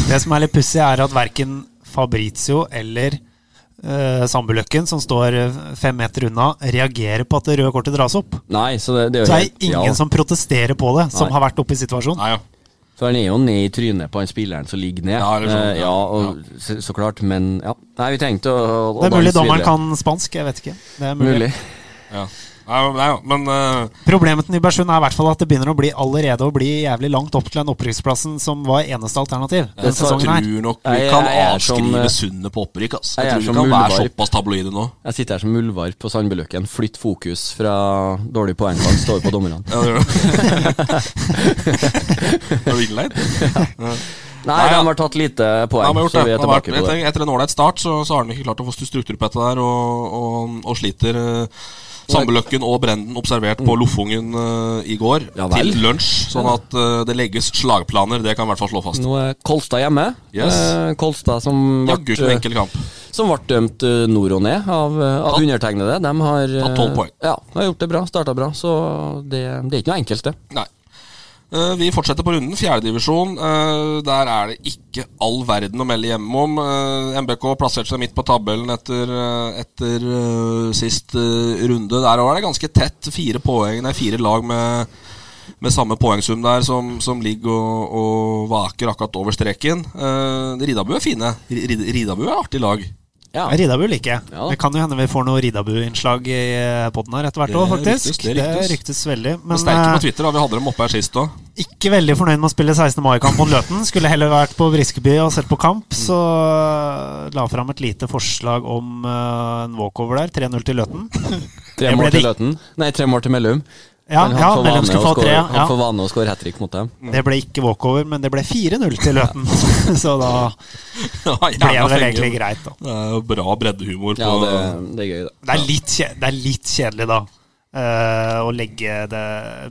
S5: Det som er litt pussig, er at verken Fabrizio eller uh, Sambuløkken, som står eh, fem meter unna, reagerer på at det røde kortet dras opp.
S6: Nei, så det, det er
S5: Så det
S6: jo helt-
S5: er ingen
S6: ja.
S5: som protesterer på det, som
S6: Nei.
S5: har vært oppe i situasjonen.
S3: Nei, ja.
S6: For han er jo ned i trynet på han spilleren som ligger ned.
S3: Ja, eller sånn,
S6: Eh,
S3: ja.
S6: ja, og, Så, så klart, men ja. Nei, vi trengte å, å, å
S5: Det er mulig
S6: danse
S5: dommeren
S6: videre.
S5: kan spansk, jeg vet ikke. Det er mulig.
S6: Mulig.
S3: ja. Nei, men- nei, men eh,
S5: Problemet til Nybergsund er i hvert fall at det begynner å bli allerede å bli jævlig langt opp til den opprykksplassen som var eneste alternativ.
S3: jeg
S5: denne
S3: tror
S5: sesongen her.
S3: nok vi
S6: Nei, jeg
S3: kan
S6: er som, eh,
S3: avskrive Sundet på opprykk. ass.
S6: jeg
S3: Jeg
S6: er
S3: tror vi
S6: som
S3: kan være
S6: Ullevål.
S3: såpass tabloide nå.
S6: Jeg sitter her som muldvarp på Sandbøløkken. Flytt fokus fra dårlig poengfangst over på dommerne.
S3: Ja, det gjør du. Er du innleid?
S6: Nei,
S3: Nei,
S6: de
S3: ja.
S6: har tatt lite
S3: Ja,
S6: poeng,
S3: men gjort
S6: så
S3: det.
S6: vi er
S3: Det har vært-
S6: tilbake på det.
S3: etter, etter en ålreit start så, så har han ikke klart å få struktur på dette der, og, og, og sliter. eh, Sambeløkken og Brenden observert på Lofungen eh, i går
S6: Mm. Ja vel.
S3: til lunsj. Sånn at eh, det legges slagplaner, det kan vi i hvert fall slå fast.
S6: Nå er Kolstad hjemme.
S3: Yes.
S6: Eh, Kolstad som
S3: Det er
S6: eh,
S3: gutt en enkel kamp.
S6: som ble dømt eh, nord og ned av, eh, av
S3: Tatt-
S6: undertegnede. De har, eh,
S3: Tatt 12 poeng.
S6: Ja, de har gjort det bra, starta bra. Så det, det er ikke noe enkelt, det.
S3: Nei. Eh, Vi fortsetter på runden. Fjerdedivisjon. Der er det ikke all verden å melde hjemme om. Eh, MBK plasserte seg midt på tabellen etter, eh, etter eh, sist eh, runde. Der òg er det ganske tett. Fire, poeng, nei, fire lag med, med samme poengsum der som, som ligger og, og vaker akkurat over streken. Eh, Ridabu er fine. Rid- Rid- Ridabu er artig lag.
S6: Ja.
S5: Ja, Ridabu liker jeg.
S6: Ja.
S5: Det kan jo hende vi får noe Ridabu-innslag i poden her etter hvert
S3: Det
S5: òg,
S3: ryktes,
S5: faktisk.
S3: det
S5: Det
S3: ryktes.
S5: ryktes veldig.
S3: Men,
S5: Men
S3: Sterke
S5: eh,
S3: på Twitter. da, Vi hadde dem oppe her sist òg.
S5: Ikke veldig fornøyd med å spille 16. mai-kamp mot Løten. Skulle heller vært på Briskeby og sett på kamp. Så la fram et lite forslag om eh, en walkover der. 3-0 til Løten.
S6: Tre
S5: Jeg ble
S6: mål til
S5: dik-
S6: Løten. Nei, tre mål til Mellum.
S5: Ja,
S6: Men han
S5: ja
S6: får
S5: Mellom
S6: vane
S5: skulle
S6: å
S5: få tre.
S6: score- Han
S5: Ja.
S6: får vane å score hat trick mot dem.
S5: Det ble ikke walkover, men det ble 4-0 til Løten. Så da ble det vel egentlig greit, da.
S3: Det er jo bra breddehumor på
S6: Ja, det, det er gøy, det.
S5: Det er litt, kje det er litt kjedelig, da. eh, å legge det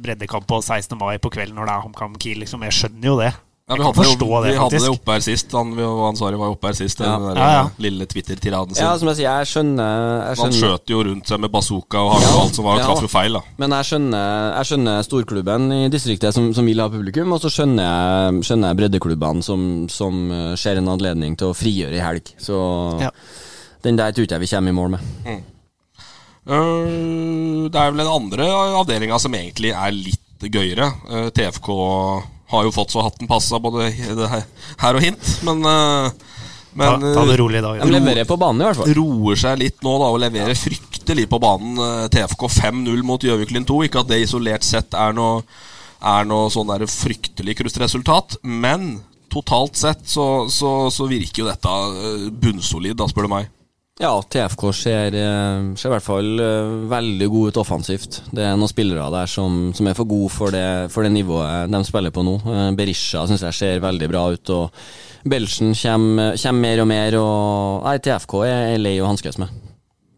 S5: breddekamp på 16. mai på kvelden når det er HamKam Kiel, liksom. Jeg skjønner jo det.
S3: Ja, vi
S5: Jeg kan
S3: hadde, det, jo-
S5: forstå det,
S3: vi hadde det
S5: faktisk.
S3: oppe her sist. Han vi var ansvarlig var jo oppe her sist,
S6: Ja.
S3: den der, eh,
S5: Ja, ja.
S3: lille Twitter-tiraden sin.
S6: Ja, som jeg sier, jeg skjønner, jeg
S3: han
S6: skjønner.
S3: skjøt jo rundt seg med bazooka og hagl og alt som var, og
S6: Ja.
S3: traff jo feil, da.
S6: Men jeg skjønner, jeg skjønner storklubben i distriktet som, som vil ha publikum, og så skjønner jeg, skjønner jeg breddeklubbene som, som eh, ser en anledning til å frigjøre i helg. Så
S5: Ja.
S6: den der tror ikke jeg vi kommer i mål med.
S3: Øh, det er vel den andre avdelinga som egentlig er litt gøyere. Øh, TFK har jo fått så hatten passa både he- det her- her og hint, men, øh,
S5: Ta,
S3: men
S5: ta det
S3: øh,
S5: rolig i dag.
S6: De leverer på banen, i hvert fall.
S3: roer seg litt nå da og leverer fryktelig på banen. øh, TFK 5-0 mot Gjøviklyn 2. Ikke at det isolert sett er noe, er noe sånn der fryktelig krustresultat, men totalt sett så, så, så virker jo dette øh, bunnsolid, da, spør du meg.
S6: Ja, TFK ser, eh, ser i hvert fall eh, veldig god ut offensivt. Det er noen spillere der som, som er for gode for det, for det nivået de spiller på nå. Eh, Berisha syns jeg ser veldig bra ut, og Belsen kommer, eh, kommer mer og mer. Og nei, TFK er, er lei å hanskes med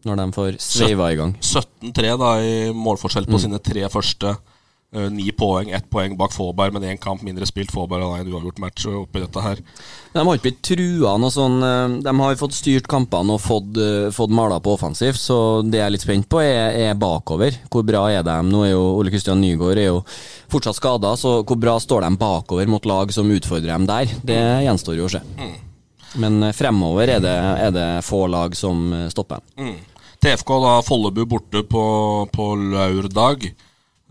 S6: når de får sveiva i gang.
S3: 17-3 da i målforskjell på sine tre første. Eh, Ni poeng, ett poeng bak Faaberg, men én kamp mindre spilt. Faaberg har en uavgjort match oppi dette her.
S6: Men De har ikke blitt trua noe sånn eh, De har fått styrt kampene og fått, eh, fått mala på offensivt, så det jeg er litt spent på, er, er bakover. Hvor bra er de? Nå er jo Ole Kristian Nygaard er jo fortsatt skada, så hvor bra står de bakover mot lag som utfordrer dem der? Det gjenstår jo å se.
S5: Mm.
S6: Men eh, fremover er det, er det få lag som eh, stopper dem.
S3: Mm. TFK da Follebu borte på, på lørdag.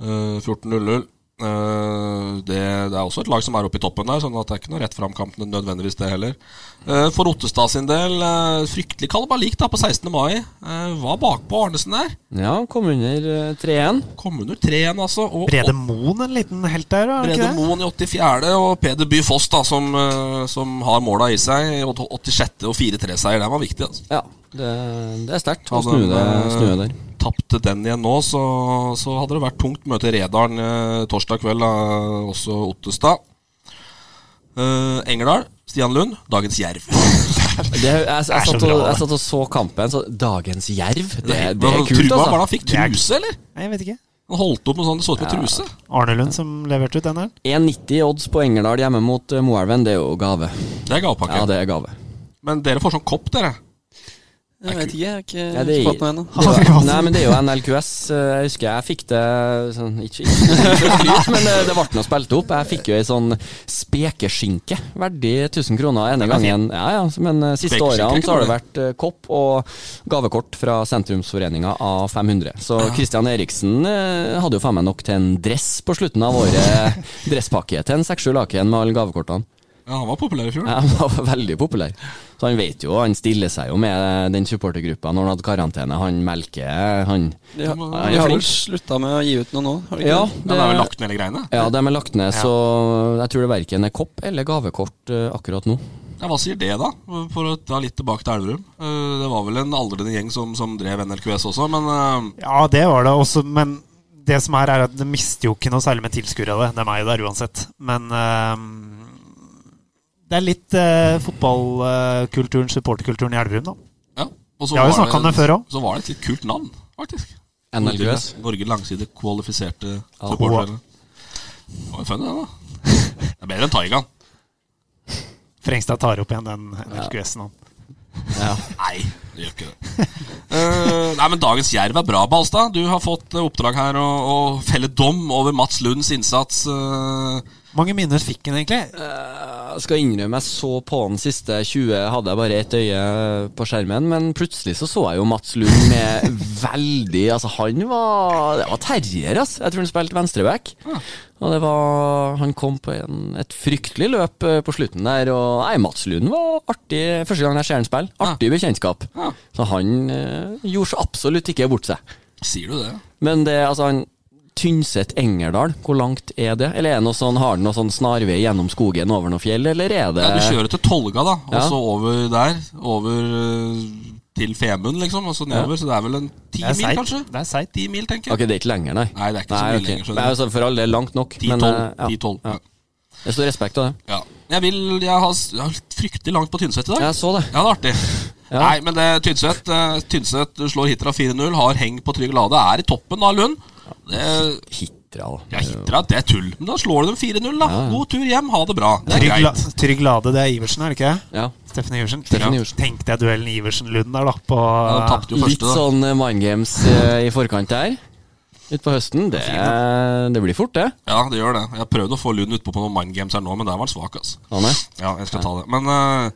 S3: eh, 14-0. Eh, det, det er også et lag som er oppe i toppen der, sånn at det er ikke noe rett fram-kamp nødvendigvis, det heller. Eh, for Ottestad sin del, eh, fryktelig kalabalik da på 16. mai. Eh, var bakpå Arnesen der.
S6: Ja, kom under eh, 3-1.
S3: Kom under 3-1, altså. Og
S5: Brede Moen en liten helt der, er det
S3: Brede
S5: ikke det?
S3: Moen i 84. og Peder By Foss, da, som, eh, som har måla i seg. i 86. og 4-3-seier. Den var viktig. altså.
S6: Ja, det, det er sterkt å
S3: Hadde
S6: snu det,
S3: de, eh,
S6: snu det der.
S3: Tapte den igjen nå, så, så hadde det vært tungt møte Redalen eh, torsdag kveld, da, også Ottestad. Eh, Engerdal, Stian Lund, dagens Jerv.
S6: Det, jeg, jeg,
S5: er så
S6: satt og,
S5: bra, det.
S6: jeg satt og så kampen, så Dagens Jerv, det, det er
S3: Hva-
S6: kult,
S3: Trua,
S6: altså.
S3: Var det han fikk
S5: Det er-
S3: truse, eller?
S5: Nei, Jeg vet ikke.
S3: Han holdt opp med sånn, det så ut som en truse.
S5: Arne Lund som leverte ut den her.
S6: 1,90 i odds på Engerdal hjemme mot eh, Moelven, det er jo gave.
S3: Det er gavepakke.
S6: Ja, det er gave.
S3: Men dere får sånn kopp, dere.
S4: Jeg vet ikke, jeg har ikke
S6: Ja, det-
S4: fått noe ennå.
S6: Det var, nei, men det er jo NLQS. eh, Jeg husker jeg fikk det sånn, Ikke, ikke, ikke skryt, men det, det ble nå spilt opp. Jeg fikk jo ei sånn spekeskinke verdig 1000 kroner ene gangen. Ja, ja, men eh, siste
S3: Spekeskinke er
S6: årene
S3: ikke
S6: så har det
S3: dårlig.
S6: vært eh, kopp og gavekort fra Sentrumsforeninga A500. Så Christian Eriksen eh, hadde jo faen meg nok til en dress på slutten av året. Dresspakke til en seks-sju laken med alle gavekortene.
S3: Ja, Han var populær i fjor.
S6: Ja, Han var veldig populær. Så han vet jo, han stiller seg jo med den supportergruppa når han hadde karantene. Han melker, han
S4: De
S3: Ja,
S4: har,
S6: jeg
S4: de
S6: er
S4: har vel
S6: flink.
S4: slutta med å gi ut noe nå? Har de ikke
S6: Ja,
S4: det?
S3: Ja, det er vel
S6: det,
S3: lagt ned hele greiene.
S6: ja, de er lagt ned, så jeg tror det verken er kopp eller gavekort eh, akkurat nå.
S3: Ja, Hva sier det, da? For å ta litt tilbake til Elverum. Eh, Det var vel en aldrende gjeng som, som drev NLQS også, men eh,
S5: Ja, det var det også, men det som er, er at det mister jo ikke noe særlig med tilskuere av det. De er jo der uansett. Men eh, det er litt eh, fotballkulturen, supporterkulturen i Elverum, da.
S3: ja. Og så
S5: Ja, vi
S3: var
S5: snakket om det før også.
S3: Så var det et litt kult navn, faktisk.
S6: NLQS.
S3: Norge, Norge langside kvalifiserte
S6: Ja.
S3: supportere. Det var jo fun, det, da. Det er bedre enn Taigan.
S5: Frengstad tar opp igjen den LQS-en han.
S3: Nei, det gjør ikke det. Eh, nei, men Dagens Jerv er bra, Balstad. Du har fått eh, oppdrag her å å felle dom over Mats Lunds innsats. eh,
S5: Mange minner fikk han egentlig?
S6: Jeg skal innrømme, jeg så på den siste 20, hadde jeg bare ett øye på skjermen, men plutselig så så jeg jo Mats Lund med veldig Altså, han var Det var terrier, ass. Jeg tror han spilte venstreback. Og det var Han kom på en, et fryktelig løp eh, på slutten der, og Nei, Mats Lund var artig første gang jeg ser han spille. Artig bekjentskap.
S3: Ja.
S6: Så han eh, gjorde så absolutt ikke bort seg.
S3: sier du det?
S6: Men det, altså han Tynset Engerdal, hvor langt er det? Eller er det noe sånn, har den noe sånn snarvei gjennom skogen over noe fjell, eller er det
S3: Ja, du kjører til Tolga, da, og
S6: Ja.
S3: så over der. Over eh, til Femund, liksom, og så nedover. Så det er vel en ti
S5: Det er
S3: mil,
S5: seigt.
S3: kanskje?
S5: Det er seigt.
S3: Ti mil, tenker
S6: Ok,
S3: jeg.
S6: det er ikke lenger, nei?
S3: Nei, det er ikke så mye
S6: ok.
S3: lenger, skjønner
S6: Nei, altså, for all del, langt nok. men,
S3: Ti-tolv.
S6: eh, ja.
S3: ja.
S6: Det står respekt av det.
S3: ja. Jeg vil Jeg har, s- jeg har litt fryktelig langt på Tynset i dag.
S6: Jeg så det.
S3: Ja, det er artig. Nei, men det er Tynset eh, Tynset slår Hitra 4-0, har heng på trygg lade, er i toppen av Lund. Det,
S6: Hit Hitra. da.
S3: Ja, Hitra, det er tull. Men da slår du dem 4-0, da.
S6: Ja, ja.
S3: God tur hjem, ha det bra. Det er
S5: Trygg, la,
S3: greit.
S5: trygg Lade, det er Iversen, er det ikke?
S6: Ja.
S5: Steffen Iversen.
S6: Steffen
S5: Ja.
S6: Iversen.
S5: Tenk deg duellen Iversen-Lund der, da. På,
S3: Ja, de tapte jo
S6: Litt
S3: første, da.
S6: sånn eh, mind games eh, i forkant der. Utpå høsten. Det, eh, det blir fort, det.
S3: Ja, det gjør det. Jeg har prøvd å få Lund utpå på noen mind games her nå, men der var han svak, altså.
S6: Han er.
S3: Ja, jeg skal ta det. Men eh,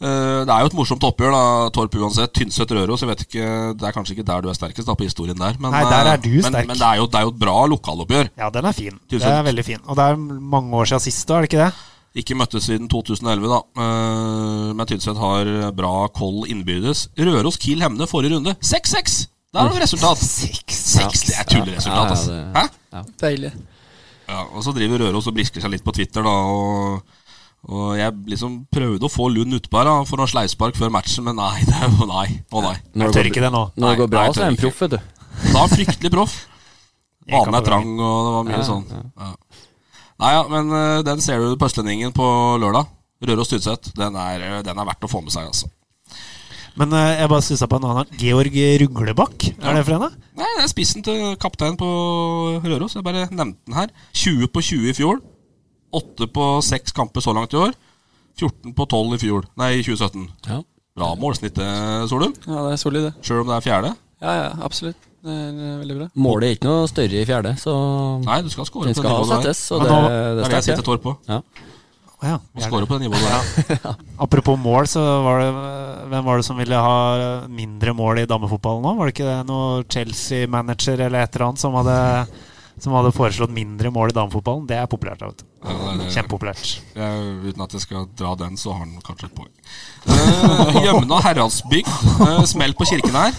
S3: eh, det er jo et morsomt oppgjør, da, Torp uansett. Tynset-Røros, jeg vet ikke Det er kanskje ikke der du er sterkest da på historien der, men,
S5: Nei, der er
S3: eh,
S5: du
S3: men,
S5: sterk.
S3: men det, er jo, det er jo et bra lokaloppgjør.
S5: Ja, den er fin.
S3: Tusen.
S5: Det er veldig fin. Og det er mange år siden sist, da, er det ikke det?
S3: Ikke møttes siden 2011, da. Eh, men Tynset har bra koll innbyrdes. Røros-Kiel-Hemne forrige runde 6-6! Der har du resultat. 6-6, Det er
S6: Ja, ja,
S3: tulleresultat, altså.
S6: det-
S3: Hæ?
S4: Deilig.
S3: Ja, og så driver Røros og brisker seg litt på Twitter, da. Og, og jeg liksom prøvde å få Lund utpå her da, for noe sleivspark før matchen, men nei. Det er, å nei, å nei.
S6: Når
S5: Jeg tør ikke det nå.
S6: Når det
S3: Nei,
S6: går bra,
S3: nei, jeg
S6: så er
S3: tør
S6: han proff, vet du.
S3: Da fryktelig proff.
S5: Jeg kan
S3: Banen er
S5: det
S3: trang, og det var mye sånn. Ja. Nei ja, men eh, den ser du på Østlendingen på lørdag. Røros Tynset. Den, er, eh, den er verdt å få med seg, altså.
S5: Men eh, jeg bare stussa på en annen. Georg Ruglebakk, er det for henne?
S3: Nei, det er spissen til kapteinen på Røros. Jeg bare nevnte den her. 20 på 20 i fjor. 8 på 6 kamper så langt i år. 14 på 12 i fjor. Nei, i 2017.
S6: Ja.
S3: Bra målsnittet, Solum.
S4: Ja, det er solid, det.
S3: Sjøl om det er fjerde.
S4: Ja, ja, absolutt. Det er, det er veldig bra.
S6: Målet er ikke noe større i fjerde, så
S3: Nei, du skal score
S6: den
S3: på det
S6: skal
S3: nivået der.
S6: settes. Og
S5: Men
S6: det,
S5: nå-
S3: Det
S6: det
S3: er det jeg
S6: starter.
S3: sitter tår på.
S6: Ja.
S5: Å ja,
S3: Å
S5: det er
S3: score
S5: det.
S3: på det nivået der.
S5: Apropos mål, så var det Hvem var det som ville ha mindre mål i damefotballen nå? Var det ikke det noe Chelsea-manager eller et eller annet som hadde, som hadde foreslått mindre mål i damefotballen? Det er populært, da, vet du.
S3: Ja, det er-
S5: Kjempepopulært.
S3: Jeg, uten at jeg skal dra den, så har han kanskje et poeng. Uh, Gjømna Heradsbygd. eh, smell på kirken her.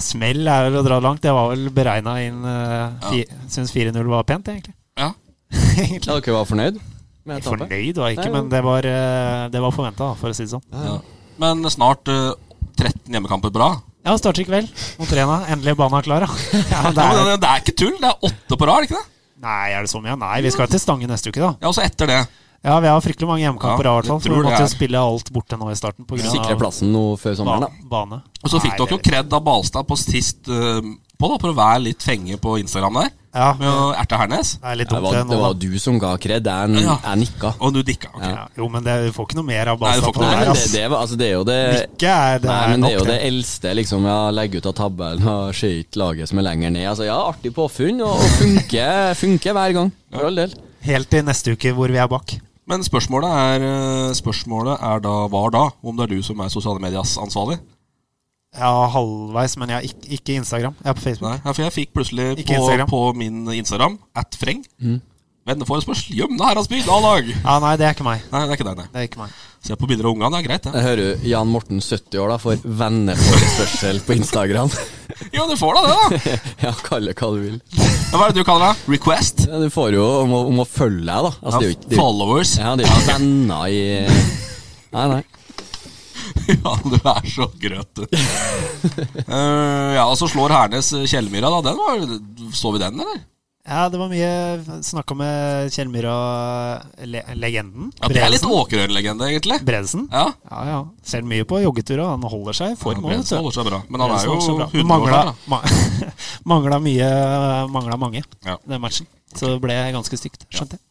S5: Smell er vel å dra langt. Det var vel beregna inn uh, fi, Syns 4-0 var pent, egentlig.
S3: Ja.
S5: egentlig.
S6: Ja, dere var fornøyd med tapet?
S5: Fornøyd var jeg ikke,
S6: Nei,
S5: men det var, eh, det var forventa, for å si det sånn.
S3: ja. Men snart eh, 13 hjemmekamper på rad.
S5: Ja, starter i kveld mot Rena. Endelig er banen klar, da. Ja, det
S3: Ja, men
S5: er,
S3: det, det er ikke tull! Det er åtte på rad, er det ikke det?
S5: nei, er det så mye? Nei, vi skal til Stange neste uke, da.
S3: Ja, og så etter det.
S5: Ja, vi har fryktelig mange hjemmekamper,
S3: Ja,
S5: i hvert fall,
S3: jeg
S5: for
S3: tror
S5: vi
S3: det
S5: måtte
S3: er-
S5: spille alt borte nå i starten på grunn
S6: Sikre
S5: av
S6: plassen nå før sommeren,
S5: ba
S6: da.
S5: bane.
S3: Og så fikk
S5: Nei,
S3: dere jo
S5: det-
S3: kred av Balstad på sist eh, på da, for å være litt fenge på Instagram der.
S5: Ja,
S3: Med å erte Hernes.
S5: det er litt
S6: Det
S5: dumt,
S6: var,
S5: det
S6: det
S5: nå.
S6: var
S5: da.
S6: du som ga kred. Jeg,
S3: Ja.
S6: jeg nikka.
S3: Og du dikka. ok.
S5: Ja, jo, men det, vi får ikke noe mer
S3: Nei, du
S5: av Basta
S3: får ikke
S5: på
S3: noe
S5: det
S6: Nei,
S3: mer,
S5: her,
S6: men det,
S5: ass.
S6: det, var- altså, det er jo det
S5: Ikke er det,
S6: Nei,
S5: er
S6: men det er
S5: nok,
S6: jo det eldste, liksom. Ja, legge ut av tabellen og skøyte laget som er lenger ned. Altså, ja, artig påfunn, og, og funker, funker hver gang. For all del.
S5: Helt til neste uke, hvor vi er bak.
S3: Men spørsmålet er, eh, spørsmålet er da var da, om det er du som er sosiale medias ansvarlig?
S5: Ja, halvveis, men jeg har ikke, ikke Instagram. Jeg er på Facebook.
S3: Nei, ja, for jeg fikk plutselig
S5: Ikke
S3: på,
S5: Instagram.
S3: på min Instagram at freng.
S6: Mm.
S3: Venneforespørsel. Gjømna Heradsbygd A-lag!
S5: Ja, nei, det er ikke meg.
S3: Nei, det er ikke deg, nei.
S5: Det er ikke meg.
S3: Se på bilder av ungene, det er greit, det.
S6: Jeg hører jo Jan Morten, 70 år, da, får venneforespørsel på Instagram.
S3: Jo, du får da det, da!
S6: ja, kall det hva du vil.
S3: Ja, Hva er det du kaller det? Request?
S6: Ja, Du får jo om å, om å følge deg, da. Altså, det er jo ikke, det er jo,
S3: Followers?
S6: ja, det er jo ikke venner i Nei, nei.
S3: Ja, du er så grøt, du. Eh, ja, og så slår Hernes eh, Kjellmyra, da. Den var Så vi den, eller?
S5: Ja, det var mye snakka med Kjell Myhra-legenden.
S3: Ja, Det er litt Åkerøy-legende, egentlig.
S5: Bredesen.
S3: Ja,
S5: Ja, ja. Ser mye på joggeturer. og Han holder seg i form.
S3: ja
S5: også,
S3: Bredesen
S5: vet
S3: holder
S5: du.
S3: seg bra. Men han er
S5: Bredesen
S3: jo
S5: holder seg bra.
S3: 100 år
S5: Mangla,
S3: snart, da.
S5: ma- mangla mye Mangla mange
S3: Ja.
S5: den matchen. Så det ble ganske stygt. Skjønte jeg.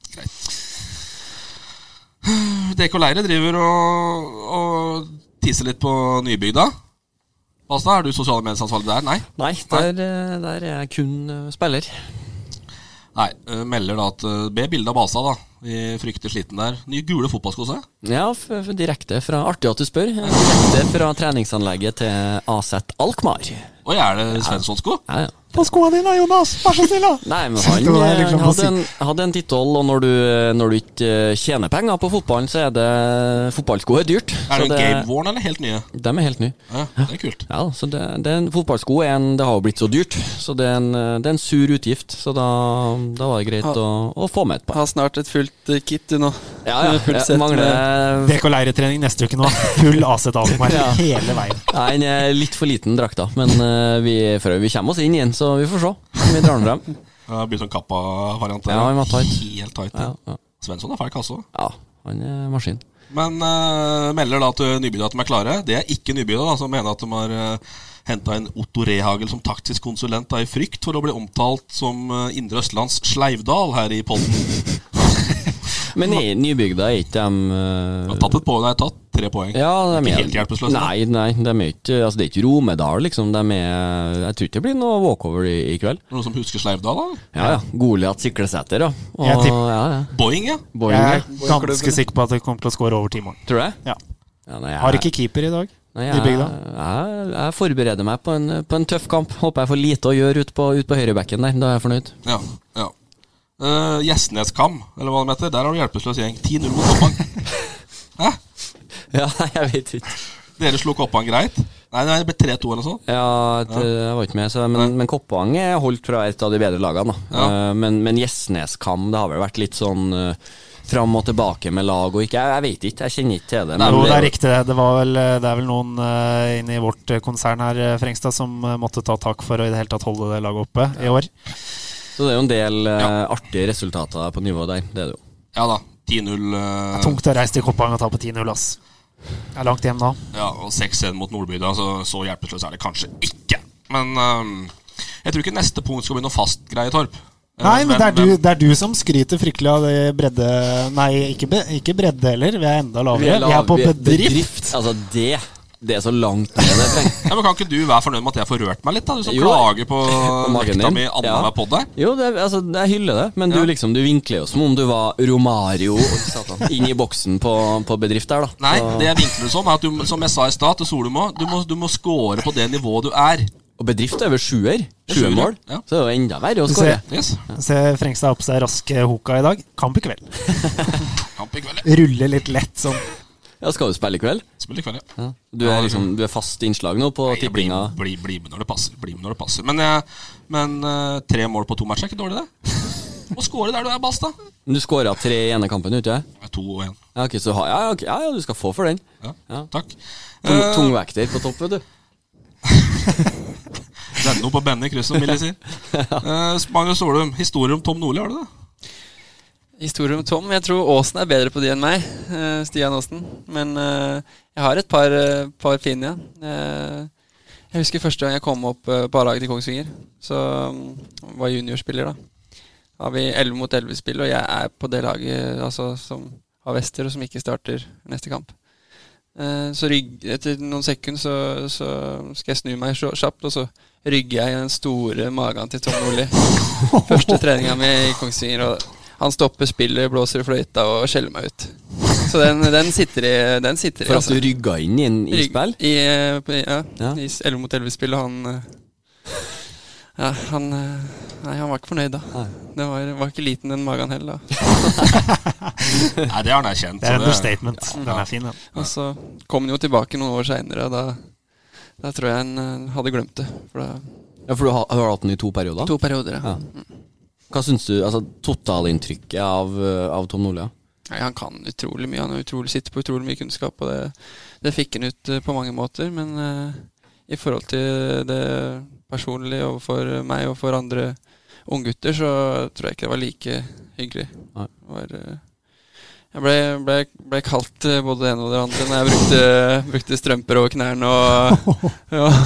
S3: DK Leire driver og, og tisser litt på nybygda. Basta, er du sosiale mediesansvarlig der? Nei.
S6: Nei, der, eh, der er jeg kun eh, spiller.
S3: Nei, eh, Melder da at eh, Be bilde av Basa, da. Vi frykter sliten der. Nye gule fotballsko, se.
S6: Ja, f f direkte fra Artig at du spør. eh, Direkte fra treningsanlegget til AZ Alkmaar.
S3: Oi, er det Svensson-sko?
S6: Ja, ja.
S5: På skoene dine, Jonas! Vær så snill, da!
S6: Nei, men
S5: Det
S6: han,
S5: var
S6: eh,
S5: liksom
S6: han
S5: å si.
S6: hadde en, hadde en tittel, og når du, når du ikke eh, tjener penger på fotballen, så er det Fotballsko er dyrt.
S3: Er
S6: så
S3: det en Game Warn eller helt nye?
S6: De er helt nye.
S3: Ja, det er kult.
S6: Ja, så det, det er en, fotballsko er en, det har jo blitt så dyrt, så det er en, eh, det er en sur utgift. Så da, da var det greit
S4: Ja.
S6: å, å få med et par.
S4: Har snart et fullt eh, kit du nå.
S6: Ja,
S4: Du
S6: ja,
S4: har fullt
S6: jeg
S4: sett med-
S6: mangler
S5: DK Leire-trening neste uke nå. Full AC Dalmar
S6: Ja.
S5: hele veien.
S6: Nei, den er litt for liten drakta, men eh, vi, for, vi kommer oss inn igjen, så vi får se om vi drar den frem.
S3: Ja, det blir sånn kappa-variant. der.
S6: Ja, han var tight.
S3: Helt tight.
S6: Ja,
S3: Ja.
S6: ja.
S3: Svensson er altså. fæl kasse òg.
S6: ja han er maskin.
S3: Men eh, melder da til Nybygda at de er klare. Det er ikke Nybygda, da, som mener at de har eh, henta inn Otto Rehagel som taktisk konsulent da, i frykt for å bli omtalt som eh, Indre Østlands Sleivdal her i podden.
S6: Men i nybygda er ikke de
S3: Jeg
S6: eh,
S3: har tatt et poeng, jeg har tatt tre poeng.
S6: ja, de
S3: ikke
S6: er,
S3: helt hjelpeløse. da.
S6: Nei, nei de er ikke, altså, det er ikke Romedal, liksom. De er, jeg tror ikke det blir noe walkover i, i kveld.
S3: Noen som husker Sleivdal? da?
S6: Ja, ja. Goliat Siklesæter, ja. Og-
S5: Jeg tipper-
S6: ja, ja.
S3: Boeing, ja.
S6: Boeing,
S5: Jeg
S6: ja.
S5: er ganske sikker på at det kommer til å score over ti mål.
S6: Tror du det?
S5: Ja.
S6: Ja, nei, jeg-
S5: Har ikke keeper i dag.
S6: Nei,
S5: i
S6: jeg, jeg,
S5: bygda.
S6: jeg forbereder meg på en, på en tøff kamp. Håper jeg får lite å gjøre ute på, ut på høyrebekken der. Da er jeg fornøyd.
S3: ja, ja. Eh, Gjestneskam, eller hva de heter. Der har du hjelpeløs gjeng. 10-0 mot Koppang. Hæ?
S6: Ja, jeg vet ikke.
S3: Dere slo Koppang greit? Nei, nei, det ble 3-2 eller noe sånt.
S6: Ja, et, eh, Jeg var ikke med, så, men, men Koppang er holdt fra et av de bedre lagene. Da.
S3: Ja.
S6: Eh, Men, men Gjesneskam, det har vel vært litt sånn eh, fram og tilbake med lag og ikke Jeg, jeg vet ikke, jeg kjenner ikke til det.
S3: Nei,
S6: men
S5: Jo, det er
S6: jo-
S5: riktig. Det, det, var vel, det er vel noen eh, inne i vårt eh, konsern her, eh, Frengstad, som eh, måtte ta tak for å i det hele tatt holde det laget oppe i år.
S6: Så det er jo en del eh, artige resultater på nivået der. Det er det jo.
S3: Ja da. 10-0 eh,
S5: Tungt å reise til Koppang og ta på 10-0, ass. Det er langt hjem da.
S3: ja, og 6-1 mot Nordbygda, så, så hjelpeløs er det kanskje ikke. Men ehm, jeg tror ikke neste punkt skal bli noe fast greie, Torp. Eh,
S5: Nei, men det er, du, det er du som skryter fryktelig av det bredde... Nei, ikke, be, ikke bredde heller. Vi er enda lavere. Vi er på
S6: lav-
S5: bedrift.
S6: Altså, det, det er så langt ned det. Frank.
S3: Ja, men Kan ikke du være fornøyd med at jeg får rørt meg litt? da Du som
S6: Jo.
S3: klager på
S6: På magen
S3: vekta
S6: din.
S3: mi
S6: Ja.
S3: annenhver podd her.
S6: Jo, det, er- altså, jeg hyller det, men du, liksom, du vinkler jo som om du var Romario inn i boksen på, på bedrift der, da.
S3: Nei,
S6: Så-
S3: det jeg vinkler det som, er at du, som jeg sa i stad til Solum òg, du, må- du må score på det nivået du er.
S6: Og bedrift er vel sjuer?
S3: er sjuer,
S6: Sjuermål?
S3: ja.
S6: Så det er jo enda verre å
S5: Du
S6: skåre.
S5: ser,
S3: Yes.
S5: se Frengstad har på seg raske hoka i dag. Kamp i kveld.
S3: Kamp i kveld. ja.
S5: Rulle litt lett sånn.
S6: Ja, skal du spille i kveld?
S3: Spill i kveld, ja.
S6: Du er liksom du er fast innslag nå på
S3: Jeg blir,
S6: tippinga.
S3: blir, blir med når det passer. Blir med når det passer. Men, jeg, men eh, tre mål på to matcher er ikke dårlig, det. Må score der du er, Basta.
S6: Du skåra tre i ene kampen, gjorde du ikke det?
S3: To og én.
S6: Ja, ok, så ha, ja, ok, ja, ja, du skal få for den.
S3: Ja.
S6: Ja.
S3: Takk.
S6: Tung,
S3: Eh,
S6: tungvekter på topp, vet du.
S3: Send noe på Benny Kryssen, vil jeg si. Eh, Magnus Solum, historie om Tom Nordli, har du det?
S4: Historie om Tom. Jeg tror Åsen er bedre på de enn meg. eh, Stian Åsen. Men eh, jeg har et par, eh, par fine. ja. Eh, jeg husker første gang jeg kom opp eh, på A-laget til Kongsvinger. Så mm, var jeg juniorspiller, da. Da har vi 11 mot 11-spill, og jeg er på det laget altså, som har vester, og som ikke starter neste kamp. Eh, Så rygg, etter noen sekunder så, så skal jeg snu meg så kjapt, og så rygger jeg i den store magen til Tom Nordli. Første treninga mi i Kongsvinger, og han stopper spillet, blåser i fløyta og skjeller meg ut. Så den, den sitter i. Den sitter i,
S6: For at
S4: altså.
S6: du rygga inn i en
S4: Rygg-
S6: innspill.
S4: I, eh, på- ja,
S6: Ja.
S4: i s- 11 mot 11-spill, og han eh, Ja, han eh, Nei, han var ikke fornøyd da. Den var, var ikke liten, den magen heller. da.
S3: Nei, det har han erkjent.
S5: Det er
S3: så
S5: understatement. Den er fin, den.
S4: Og så kom han jo tilbake noen år seinere, og da, da tror jeg han eh, hadde glemt det. For da,
S6: Ja, For du har, har du hatt den i to perioder?
S4: to perioder, ja.
S6: Ja. Hva syns du altså totalinntrykket av, eh, av Tom Nordli? ja?
S4: Nei, han kan utrolig mye. Han er utrolig, sitter på utrolig mye kunnskap, og det, det fikk han ut eh, på mange måter. Men eh, i forhold til det personlige overfor meg og for andre unggutter, så tror jeg ikke det var like hyggelig.
S6: Nei.
S4: Det Var, eh, jeg ble, ble, ble kalt eh, både det ene og det andre når jeg brukte, brukte strømper over knærne og, og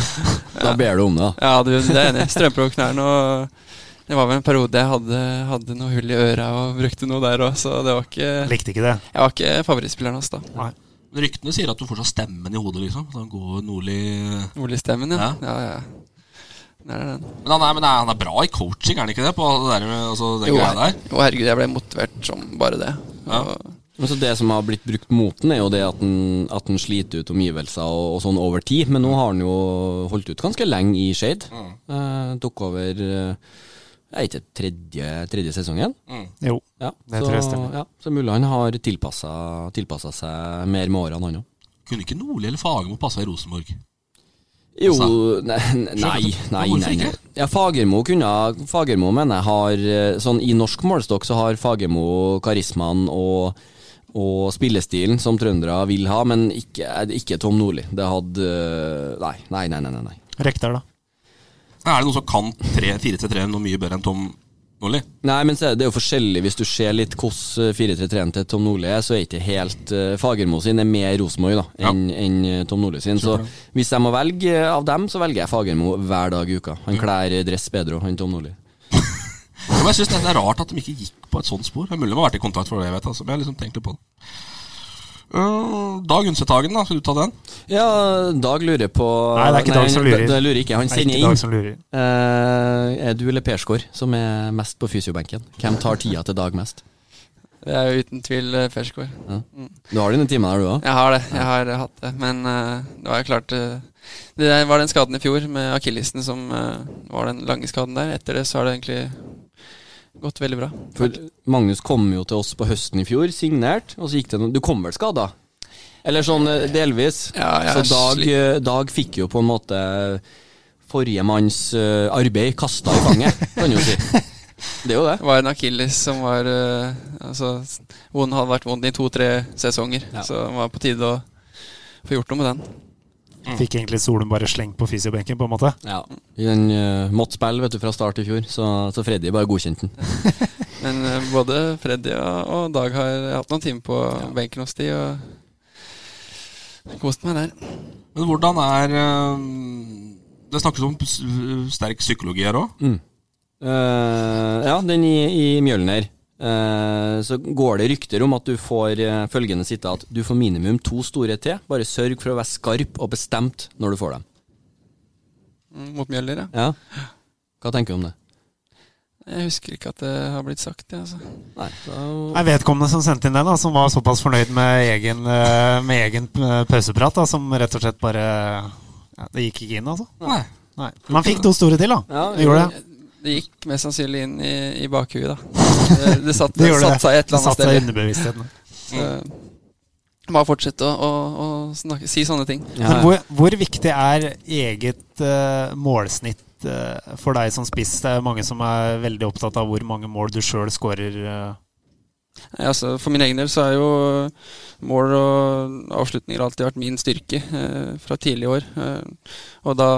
S6: Da ber du om det, da.
S4: Ja, du, det er jeg enig. i. Strømper over knærne. Og det var vel en periode jeg hadde, hadde noe hull i øra og brukte noe der òg, så det var ikke
S5: Likte ikke det.
S4: Jeg var ikke favorittspilleren hans, da.
S3: Men ryktene sier at du får sånn stemmen i hodet, liksom. At han går Nordli
S4: Ole-stemmen,
S3: Ja.
S4: ja. ja. ja, ja. Der er den.
S3: Men han er, men er, han er bra i coaching, er han ikke det? På det der med, altså, den
S4: Jo,
S3: greia der.
S4: her- jo, herregud, jeg ble motivert som bare det.
S3: Ja.
S4: Og,
S6: Men så Det som har blitt brukt mot den, er jo det at den, at den sliter ut omgivelser og, og sånn over tid. Men nå har den jo holdt ut ganske lenge i Shade. Eh, tok over eh, jeg vet ikke tredje, tredje sesongen.
S5: Jo.
S6: Ja,
S5: Det
S6: så,
S5: tror jeg stemmer.
S6: Ja, så mulig han har tilpassa tilpassa seg mer med årene, han òg.
S3: Kunne ikke Nordli eller Fagermo passa i Rosenborg?
S6: Jo,
S3: Altså,
S6: nei, nei, nei,
S3: hvorfor
S6: nei, nei.
S3: ikke?
S6: Ja, Fagermo kunne Fagermo mener jeg har eh, Sånn i norsk målestokk så har Fagermo karismaen og, og spillestilen som trøndere vil ha, men ikke, eh, ikke Tom Nordli. Det hadde eh, Nei, nei, nei. nei, nei.
S5: Rekdal, da.
S3: Er det noen som kan 4-3-3 noe mye bedre enn Tom Nordli?
S6: Nei, men se, det er jo forskjellig. Hvis du ser litt hvordan eh, 4-3-3-en til Tom Nordli er, så er ikke helt eh, Fagermo sin er mer Rosenborg da, enn enn, eh, Tom Nordli sin. Så hvis jeg må velge eh, av dem, så velger jeg Fagermo hver dag i uka. Han kler eh, dress bedre enn Tom Nordli.
S3: Ja, Men jeg synes det er rart at de ikke gikk på et sånt spor. Det er mulig de har vært i kontakt for det, jeg vet altså, men jeg har liksom tenkt litt på det. Øh, Dag Unnsethagen, da. Skal du ta den?
S6: Ja, Dag lurer på
S5: Nei, det er ikke Dag som lurer.
S6: Det, det lurer ikke. Han
S5: Det er
S6: sender
S5: ikke Dag
S6: inn.
S5: som lurer.
S6: Eh, er du eller Persgaard som er mest på fysiobenken? Hvem tar tida til Dag mest?
S4: Det er jo uten tvil eh, Ferskår.
S6: Du har dine timer der, du òg?
S4: Jeg har det. Jeg har eh, hatt det. Men eh, det var jo klart eh, Det der var den skaden i fjor med akillesen som eh, var den lange skaden der. Etter det så har det egentlig gått veldig bra.
S6: For Magnus kom jo til oss på høsten i fjor, signert, og så gikk det noen Du kommer vel skada? Eller sånn eh, delvis.
S4: Ja, jeg
S6: så
S4: er
S6: Dag,
S4: slitt.
S6: eh, Dag fikk jo på en måte forrige manns eh, arbeid kasta i fanget, kan du jo si. Det er jo det.
S4: Det var en akilles som var eh, altså, vond, hadde vært vond i to-tre sesonger.
S6: Ja.
S4: Så det var på tide å få gjort noe med den.
S5: Fikk egentlig Solum bare slengt på fysiobenken, på en måte.
S6: Ja. Han eh, måtte spille vet du, fra start i fjor, så, så Freddy bare godkjente den.
S4: Men eh, både Freddy og, og Dag har hatt noen timer på benken hos de og kost meg der.
S3: Men hvordan er øh, Det snakkes om s- øh, sterk psykologi her òg.
S6: Eh, ja, den i, i Mjølner. Eh, så går det rykter om at du får eh, følgende sitat Du får minimum to store T. Bare sørg for å være skarp og bestemt når du får dem.
S4: Mm, Mot Mjøller, ja.
S6: Ja. Hva tenker du om det?
S4: Jeg husker ikke at det har blitt sagt, jeg, altså.
S6: Nei, da...
S5: Nei, vedkommende som sendte inn den, da, som var såpass fornøyd med egen, eh, med egen eh, pauseprat, da, som rett og slett bare ja, Det gikk ikke inn, altså.
S3: Nei.
S5: Nei. Man fikk to store til, da.
S6: Ja,
S5: det gjorde det.
S4: Det gikk mest sannsynlig inn i, i bakhuet, da. Det, det, satt,
S5: Det
S4: det
S5: gjorde
S4: satt seg et
S5: Det
S4: eller
S5: satt
S4: annet
S5: seg i
S4: sted.
S5: underbevisstheten.
S4: Så, bare fortsette å, å, å snakke, si sånne ting.
S6: Ja,
S5: Men hvor, hvor viktig er eget eh, målsnitt eh, for deg som spiss? Det er mange som er veldig opptatt av hvor mange mål du sjøl skårer. eh.
S4: Nei, Altså, for min egen del så er jo mål og avslutninger alltid vært min styrke eh, fra tidlige år. Eh, og da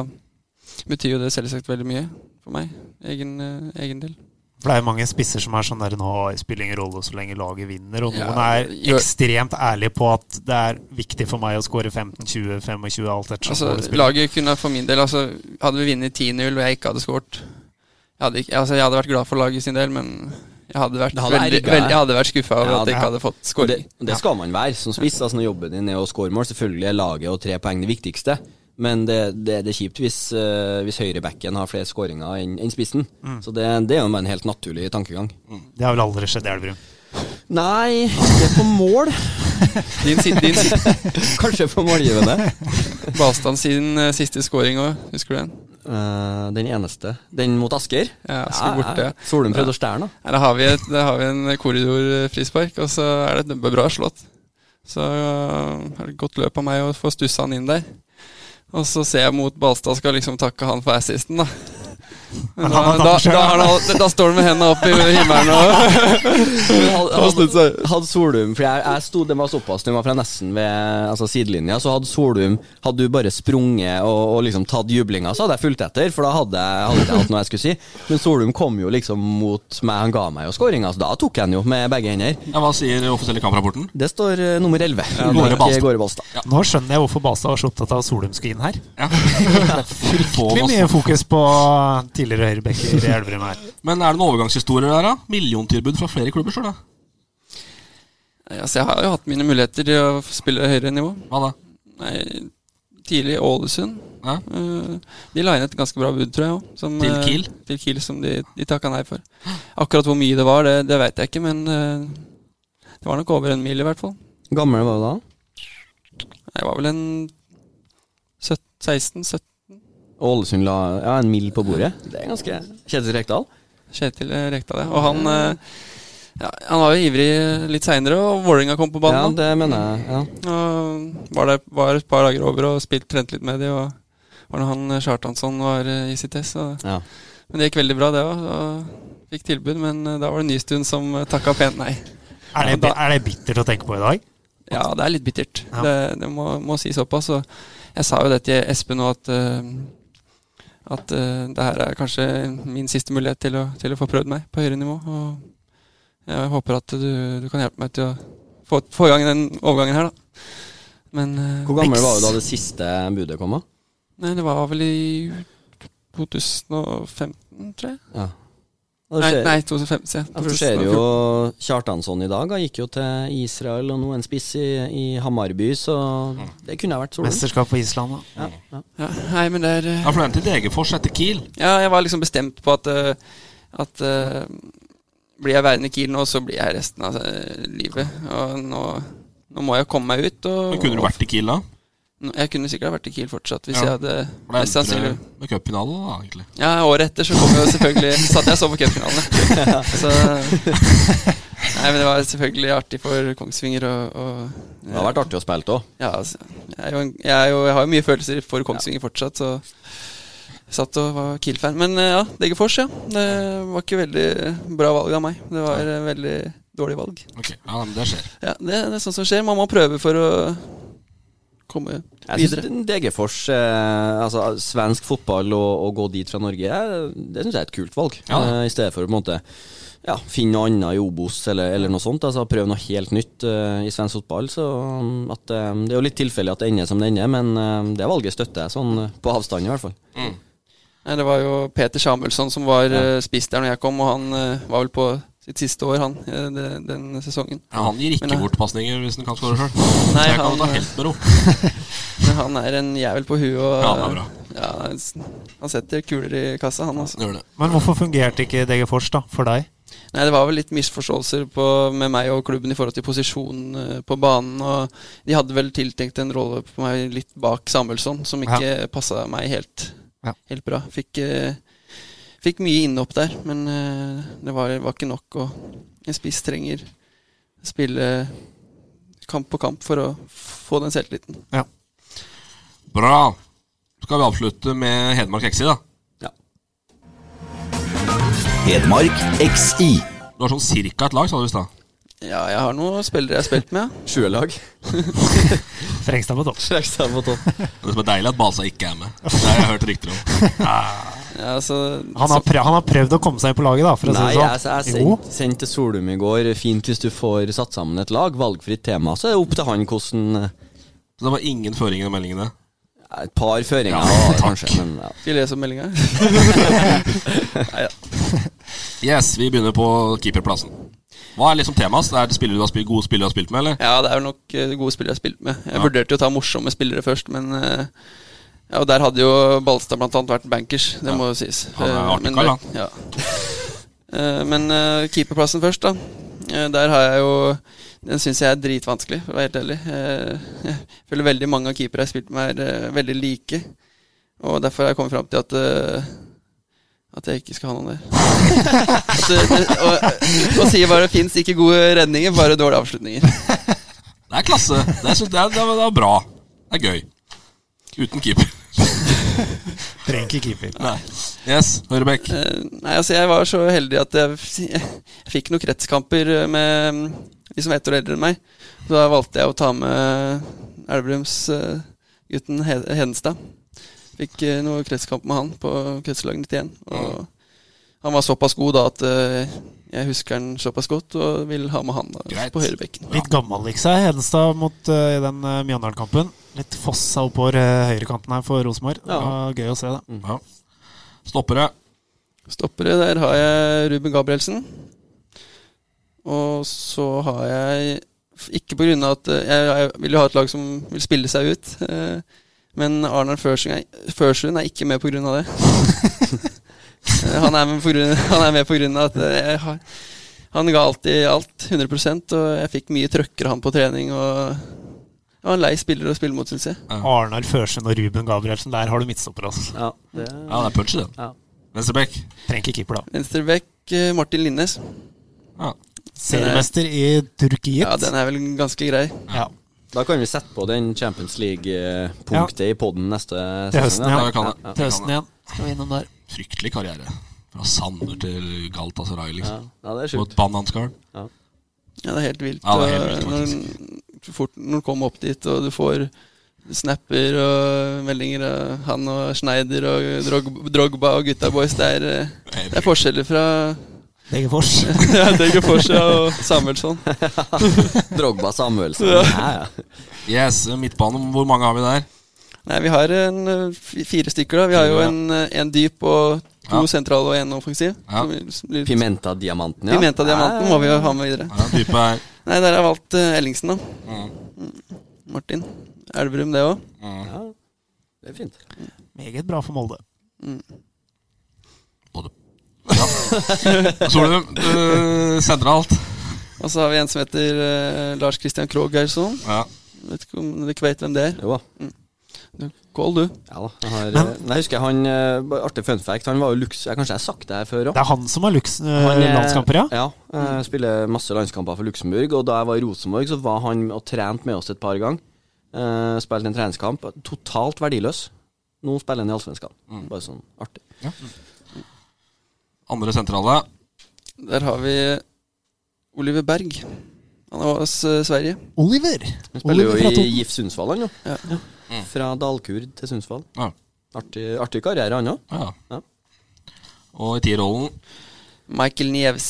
S4: betyr jo det selvsagt veldig mye for meg. Egen, eh, egen del.
S5: For det er jo mange spisser som er sånn der Nå spiller ingen rolle så lenge laget vinner. Og noen
S4: Ja,
S5: er
S4: gjør-
S5: ekstremt ærlige på at det er viktig for meg å skåre 15-20-25, alt etter
S4: Altså,
S5: målet spiller.
S4: laget kunne for min del altså, Hadde vi vunnet 10-0 og jeg ikke hadde skåret jeg, hadde ikke- altså, jeg hadde vært glad for laget sin del, men jeg hadde vært,
S6: Det hadde
S4: veldig,
S6: erget deg.
S4: veldig, jeg hadde vært skuffa over
S6: Ja,
S4: at jeg
S6: det-
S4: ikke hadde fått
S6: det,
S4: skåring.
S6: det skal man være som spiss. Altså, når jobben din er å score mål, selvfølgelig er laget og tre poeng det viktigste. Men det, det, det er kjipt hvis, uh, hvis høyrebacken har flere skåringer enn enn spissen. Så det, det er jo bare en helt naturlig tankegang.
S5: Det har vel aldri skjedd i Elverum.
S6: Nei, ikke på mål.
S4: Din, si- din, si-
S6: Kanskje på målgivende.
S4: Balstad sin eh, siste scoring òg, husker du den?
S6: Eh, den eneste. Den mot Asker?
S4: Ja, Asker borte, ja.
S6: Solum prøvde å stjele den. da.
S4: Her har vi, et, der har vi en korridorfrispark, og så er det et bra slått. Så øh, er det et godt løp av meg å få stussa han inn der. Og så ser jeg mot Balstad skal liksom takke han for assisten, da. Men da,
S5: han har tatt
S4: da,
S5: den selv,
S4: da, har han alt- da står han med hendene opp i himmelen og
S6: Men Hadde, hadde, hadde Solum For jeg, jeg sto, den var såpass, den var fra nesten ved altså sidelinja, så hadde Solum Hadde du bare sprunget og, og liksom tatt jublinga, så hadde jeg fulgt etter, for da hadde jeg hadde ikke jeg hatt noe jeg skulle si. Men Solum kom jo liksom mot meg, han ga meg jo skåringa, så da tok jeg den jo med begge hender.
S3: Ja, hva sier offisielle kamerarapporten?
S6: Det står eh, nummer 11.
S3: Ja, Gåre Balstad.
S6: Gåre Balstad.
S5: Nå skjønner jeg hvorfor Balstad var så opptatt av at Solum skulle inn her.
S3: Ja. Fryktelig
S5: Veldig mye fokus på tidligere høyrebacker i Elverum her.
S3: Men er det noen overgangshistorier der, da? Milliontilbud fra flere klubber, sjøl, da?
S4: Ja, så jeg har jo hatt mine muligheter til å spille høyere nivå.
S3: Hva da?
S4: Nei, tidlig i Ålesund.
S3: Ja.
S4: Eh, de la inn et ganske bra bud, tror jeg også, som,
S3: Til
S4: eh,
S3: Kiel?
S4: Til Kiel, som de, de takka nei for. Akkurat hvor mye det var, det, det veit jeg ikke, men eh, det var nok over en mil, i hvert fall.
S6: Gammel var du da?
S4: Jeg var vel en 16-17.
S6: Ålesund la ja, en mil på bordet. Det er ganske Kjetil Rekdal.
S4: Kjetil eh, Rekdal, ja. Og han eh, ja, Han var jo ivrig litt seinere, og Vålerenga kom på
S6: Ja,
S4: banen.
S6: det mener jeg. Ja.
S4: da. Og var der var et par dager over og spilt, trent litt med de, og var når han eh, Kjartansson var eh, i sitt ess. og-
S6: Ja.
S4: Men det gikk veldig bra, det òg. Fikk tilbud, men eh, da var det Nystuen som eh, takka pent nei.
S5: Er det, bi- er det bittert å tenke på i dag?
S4: Ja, det er litt bittert.
S5: Ja.
S4: altså. Det, det må, må si såpass. Og jeg sa jo det til Espen nå, at, eh, at eh, det her er kanskje min siste mulighet til å, til å få prøvd meg på høyere nivå. Og jeg håper at du, du kan hjelpe meg til å få, få i gang den overgangen her, da. Men eh,
S6: Hvor gammel var du da det siste budet kom? da?
S4: Nei, det var vel i 2015, tror jeg.
S6: Ja. Og
S4: Nei,
S6: det skjer-
S4: nei 2015, sier jeg.
S6: Ja, for Du ser jo Kjartansson i dag. Han gikk jo til Israel og nå en spiss i, i Hamarby, så det kunne ha vært Solund.
S5: Mesterskap på Island, da.
S6: Ja, ja.
S4: Ja, nei, men det er eh,
S3: Ja, for den til Degerfors etter Kiel.
S4: Ja, jeg var liksom bestemt på at, eh, at eh, blir jeg værende i Kiel nå, så blir jeg resten av eh, livet. Og nå, nå må jeg komme meg ut. Og,
S3: Men kunne du vært i Kiel da?
S4: Nå- Jeg kunne sikkert vært i Kiel fortsatt hvis
S3: Ja.
S4: jeg hadde
S3: For det
S4: mest
S3: endte
S4: sannsynlig.
S3: det med cupfinale, da, egentlig.
S4: Ja, året etter så kom jo selvfølgelig Satt jeg og så på cupfinalene. Så Nei, men det var selvfølgelig artig for Kongsvinger og, og
S6: Det hadde vært artig å spille òg.
S4: Ja, altså. Jeg, er jo en, jeg, er jo, jeg har jo mye følelser for Kongsvinger fortsatt, så jeg satt og var Kiel-fan. Men eh, ja, Degerfors, ja. Det var ikke veldig bra valg av meg. Det var eh, veldig dårlig valg.
S3: Ok, ja, men Det skjer.
S4: Ja, det, det er sånt som skjer. Man må prøve for å komme
S6: Jeg
S4: videre.
S6: synes Degerfors, eh, altså svensk fotball og å gå dit fra Norge, eh, det syns jeg er et kult valg.
S3: Ja.
S6: Eh, I stedet for å på en måte ja, finne noe annet i Obos eller, eller noe sånt. Altså Prøve noe helt nytt eh, i svensk fotball. Så mm, at, eh, Det er jo litt tilfeldig at det ender som det ender, men eh, det valget støtter jeg sånn eh, på avstand i hvert fall.
S4: Nei, det var jo Peter Samuelsson som var eh, spiss der når jeg kom, og han eh, var vel på sitt siste år, han, eh, det- den sesongen.
S3: Ja, han gir ikke
S4: Men, eh,
S3: bort pasninger hvis han kan skåre sjøl.
S4: Nei,
S3: Jeg kan
S4: han-
S3: ta helt med ro.
S4: Men han er en jævel på huet. Og,
S3: Ja, han er bra.
S4: Ja, han setter kuler i kassa, han altså. også.
S3: Gjør det.
S5: Men hvorfor fungerte ikke Degerfors da, for deg?
S4: Nei, Det var vel litt misforståelser på, med meg og klubben i forhold til posisjonen eh, på banen. og De hadde vel tiltenkt en rolle på meg litt bak Samuelsson, som ikke passet passa meg helt,
S5: Ja.
S4: helt bra. Fikk, eh, fikk mye innhopp der, men eh, det var, var ikke nok. Og en spiss trenger spille kamp på kamp for å få den selvtilliten.
S3: Bra. Skal vi avslutte med Hedmark XI, da?
S2: Hedmark XI.
S3: Du har sånn cirka et lag, sa du i stad.
S4: Ja, jeg har noen spillere jeg har spilt med. ja.
S6: Sjuerlag.
S5: Frengstad på topp.
S6: Frekstad på topp.
S3: Det som er deilig, er at Basa ikke er med. Det har jeg hørt rykter om.
S4: Ja, altså,
S5: Han har, prøv, han har prøvd å komme seg på laget, da, for å si
S6: Nei,
S5: det
S6: jeg,
S5: sånn.
S6: jeg sendte sendt til Solum i går. eh, Fint hvis du får satt sammen et lag, valgfritt tema. Så er det opp til han hvordan eh,
S3: Så det var ingen føringer i meldingene.
S6: Et par føringer,
S3: Ja,
S6: var det
S3: takk.
S6: kanskje. Men, ja.
S4: Skal jeg lese opp meldinga?
S3: Yes, vi begynner på keeperplassen. Hva er liksom temaet? Er det spillere du har spilt, gode spillere du har spilt med, eller?
S4: Ja, det er jo nok eh, gode spillere jeg har spilt med. Jeg vurderte jo å ta morsomme spillere først, men eh, ja, og Der hadde jo Balstad blant annet vært bankers, det må jo sies.
S3: Han er
S4: Eh,
S3: artig
S4: men
S3: kar,
S4: det- Ja. Eh, Men eh, keeperplassen først, da. Eh, Der har jeg jo Den syns jeg er dritvanskelig, for å være helt ærlig. Eh, Jeg føler veldig mange av keepere jeg har spilt med, er eh, veldig like. Og derfor har jeg kommet fram til at eh, at jeg ikke skal ha noen der. At det, det, og, og sier bare det fins ikke gode redninger, bare dårlige avslutninger.
S3: Det er klasse. Det, synes, det, er, det, er, det er bra. Det er gøy. Uten keeper.
S5: Trenger ikke keeper.
S3: Nei. Yes, Høyrebekk.
S4: Eh, Nei, altså jeg var så heldig at jeg, jeg, fikk noen kretskamper med mm, de som var ett år eldre enn meg. Så da valgte jeg å ta med Elverumsgutten He Hedenstad. Fikk eh, noe kretskamp med han på kretslaget 91. Og han var såpass god da at eh, jeg husker han såpass godt og vil ha med han da,
S3: Greit.
S4: på høyrebekken.
S5: Litt gammel, liksom. Hedenstad mot eh, i den eh, Mjøndalen-kampen. Litt fossa oppover eh, høyrekanten her for Rosenborg. Det
S6: Ja. Mm.
S5: var Gøy å se, det.
S3: Ja. Stoppere.
S4: Stoppere, der har jeg Ruben Gabrielsen. Og så har jeg Ikke på grunn av at eh, jeg, jeg vil jo ha et lag som vil spille seg ut. eh, Men Arnar Førsund er, Førsund er ikke med pga. det. Eh, han er med på grunn- han er med pga. at eh, jeg har, han ga alltid alt, 100 og jeg fikk mye trøkker av han på trening. Og jeg var en lei spiller å spille mot, syns jeg.
S5: Arnar Førsund og Ruben Gabrielsen, der har du midtstopper, altså.
S6: Ja, det,
S3: Ja, det er punchy, den.
S6: Ja.
S3: Venstrebekk.
S5: Trenger ikke keeper, da.
S4: Venstrebekk, eh, Martin Linnes.
S3: Ja.
S5: Seriemester i Turkiet.
S4: Ja, den er vel ganske grei.
S5: Ja.
S6: da kan vi sette på den Champions League-punktet i poden neste
S5: Til høsten,
S3: Ja, vi
S5: ja.
S3: kan det.
S5: Til høsten igjen. Skal vi innom der.
S3: Fryktelig karriere. Fra Sander til Galtasaray,
S6: Ja.
S3: liksom.
S6: ja, det er
S3: Og et
S6: sjukt.
S3: bananskall.
S4: Ja, det er helt vilt. eh,
S3: Ja, det er helt vilt,
S4: og når, fort, når du kommer opp dit og du får snapper og meldinger av han og Schneider og Drog, Drogba og gutta boys. Det er, eh, det er forskjeller fra
S5: Degerfors.
S4: ja, Degerfors ja, og Samuelsson.
S6: Drogba Samuelsen.
S4: Ja.
S6: Ja, ja.
S3: Yes, midtbane, hvor mange har vi der?
S4: Nei, vi har en, eh, fi- fire stykker. da Vi har jo
S3: Fire, ja.
S4: en, eh, en dyp og to
S3: Ja.
S4: sentrale og en offensiv.
S3: Ja.
S4: som blir-
S6: Pimenta-diamanten, ja.
S4: Pimenta-diamanten må vi jo ha med videre.
S3: Ja, type er
S4: Nei, der har jeg valgt eh, Ellingsen, da. Mm. Martin. Elverum, det òg.
S6: Det er fint.
S5: Meget bra for Molde.
S3: både Solum, eh, sentralt.
S4: Og så har vi en som heter eh, Lars Christian Krogh Gerson.
S3: Ja.
S4: Vet ikke om dere veit hvem det er.
S6: Jo da.
S4: Kål, du.
S6: Ja, da. Jeg, har, eh, jeg husker han eh, bare Artig fun fact. Han var jo luks... jeg- Kanskje jeg har sagt det her før òg?
S5: Det er han som har Lux
S6: Han er-
S5: landskamper, ja?
S6: Ja, eh, spiller masse landskamper for Luxembourg. Og da jeg var i Rosenborg, så var han og trente med oss et par ganger. Eh, spilte en treningskamp. Totalt verdiløs. Nå spiller han i Allsvenskan. Bare sånn artig.
S3: Andre sentrale.
S4: Der har vi eh, Oliver Berg. Han er hos eh, Sverige.
S5: Oliver!
S6: Han spiller
S5: Oliver
S6: jo
S5: fra
S6: i
S5: Toten.
S6: GIF Sundsvall, han jo.
S4: Ja.
S6: Fra Dalkurd til Sundsvall.
S3: Ja.
S6: Artig, artig karriere, han òg.
S3: Ja.
S6: Ja.
S3: Og i tierrollen
S4: Michael Nieves.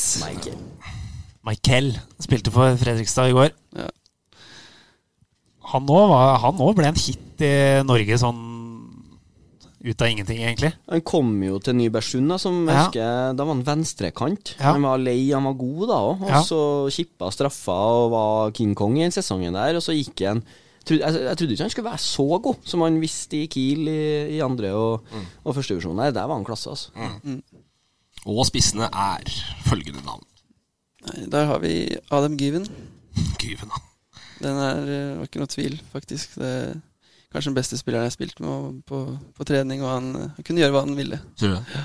S5: Michael spilte for Fredrikstad i går.
S4: Ja.
S5: Han nå var- han nå ble en hit i Norge sånn ut av ingenting, egentlig.
S6: Han kom jo til Nybergsund, da, som jeg
S5: Ja.
S6: husker Da var han venstrekant.
S5: Ja.
S6: Han var lei, han var god da òg. Og
S5: Ja.
S6: så kippa straffa og var King Kong i den sesongen der, og så gikk han Trodde- altså, jeg, jeg trodde ikke han skulle være så god som han visste i Kiel i, i andre og,
S5: Mm.
S6: og første divisjon. Nei, der var han klasse, altså.
S3: og spissene er følgende navn.
S4: Nei, Der har vi Adam Given.
S3: Gyven, da.
S4: Den er, eh, var ikke noe tvil, faktisk. Det er kanskje den beste spilleren jeg har spilt med og på, på trening. Og han, eh, han kunne gjøre hva han ville.
S3: Tror du det?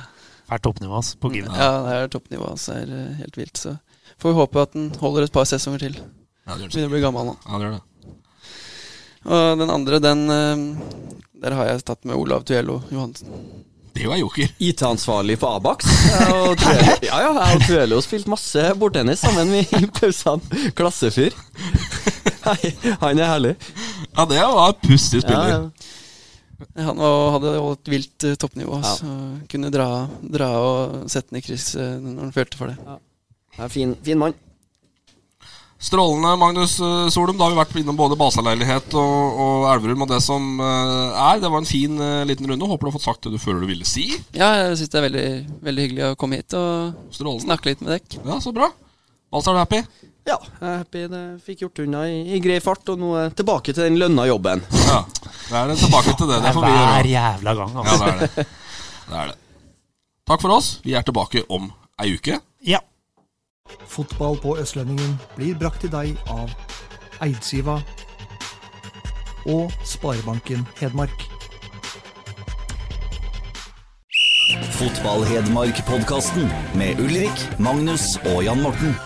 S5: Er toppnivå ass, på
S6: Mm.
S5: Gine.
S4: Ja, det er toppnivå. Altså, er eh, helt vilt. Så får vi håpe at den holder et par sesonger til.
S3: Ja, det gjør det.
S4: Begynner å bli gammel nå.
S3: Ja, det gjør det.
S4: Og den andre, den eh, Der har jeg tatt med Olav Tuello Johansen.
S3: Det er jo en joker.
S6: IT-ansvarlig for Abax. Jeg og Tuelo- Ja, ja, jeg og Tuelo spilte masse bordtennis sammen i i pausene. Klassefyr. Nei, Han er herlig.
S3: Ja, det var en pussig spiller.
S6: Ja, ja.
S4: Han var, hadde jo et vilt eh, toppnivå. Så kunne dra, dra og sette den i kryss eh, når han følte for det.
S6: Ja, fin, fin mann.
S3: Strålende, Magnus eh, Solum. Da har vi vært innom både Basaleilighet og, og Elverum og det som eh, er. Det var en fin eh, liten runde. Håper du har fått sagt det du føler du ville si.
S4: Ja, jeg syns det er veldig, veldig hyggelig å komme hit og
S3: Strålende.
S4: snakke litt med dere.
S3: Ja, så bra. Altså, er du happy?
S6: Ja, jeg er happy det fikk gjort unna i, i grei fart, og nå er jeg tilbake til den lønna jobben.
S3: Ja. Da er det tilbake til det.
S5: Det
S3: Det
S5: er
S3: får vi gjøre.
S5: hver jævla gang,
S3: Ja,
S5: altså.
S3: det er det. det er det. Takk for oss. Vi er tilbake om ei uke.
S5: Ja.
S1: Fotball på Østlendingen blir brakt til deg av Eidsiva og Sparebanken Hedmark.
S2: Fotball-Hedmark-podkasten med Ulrik, Magnus og Jan Morten.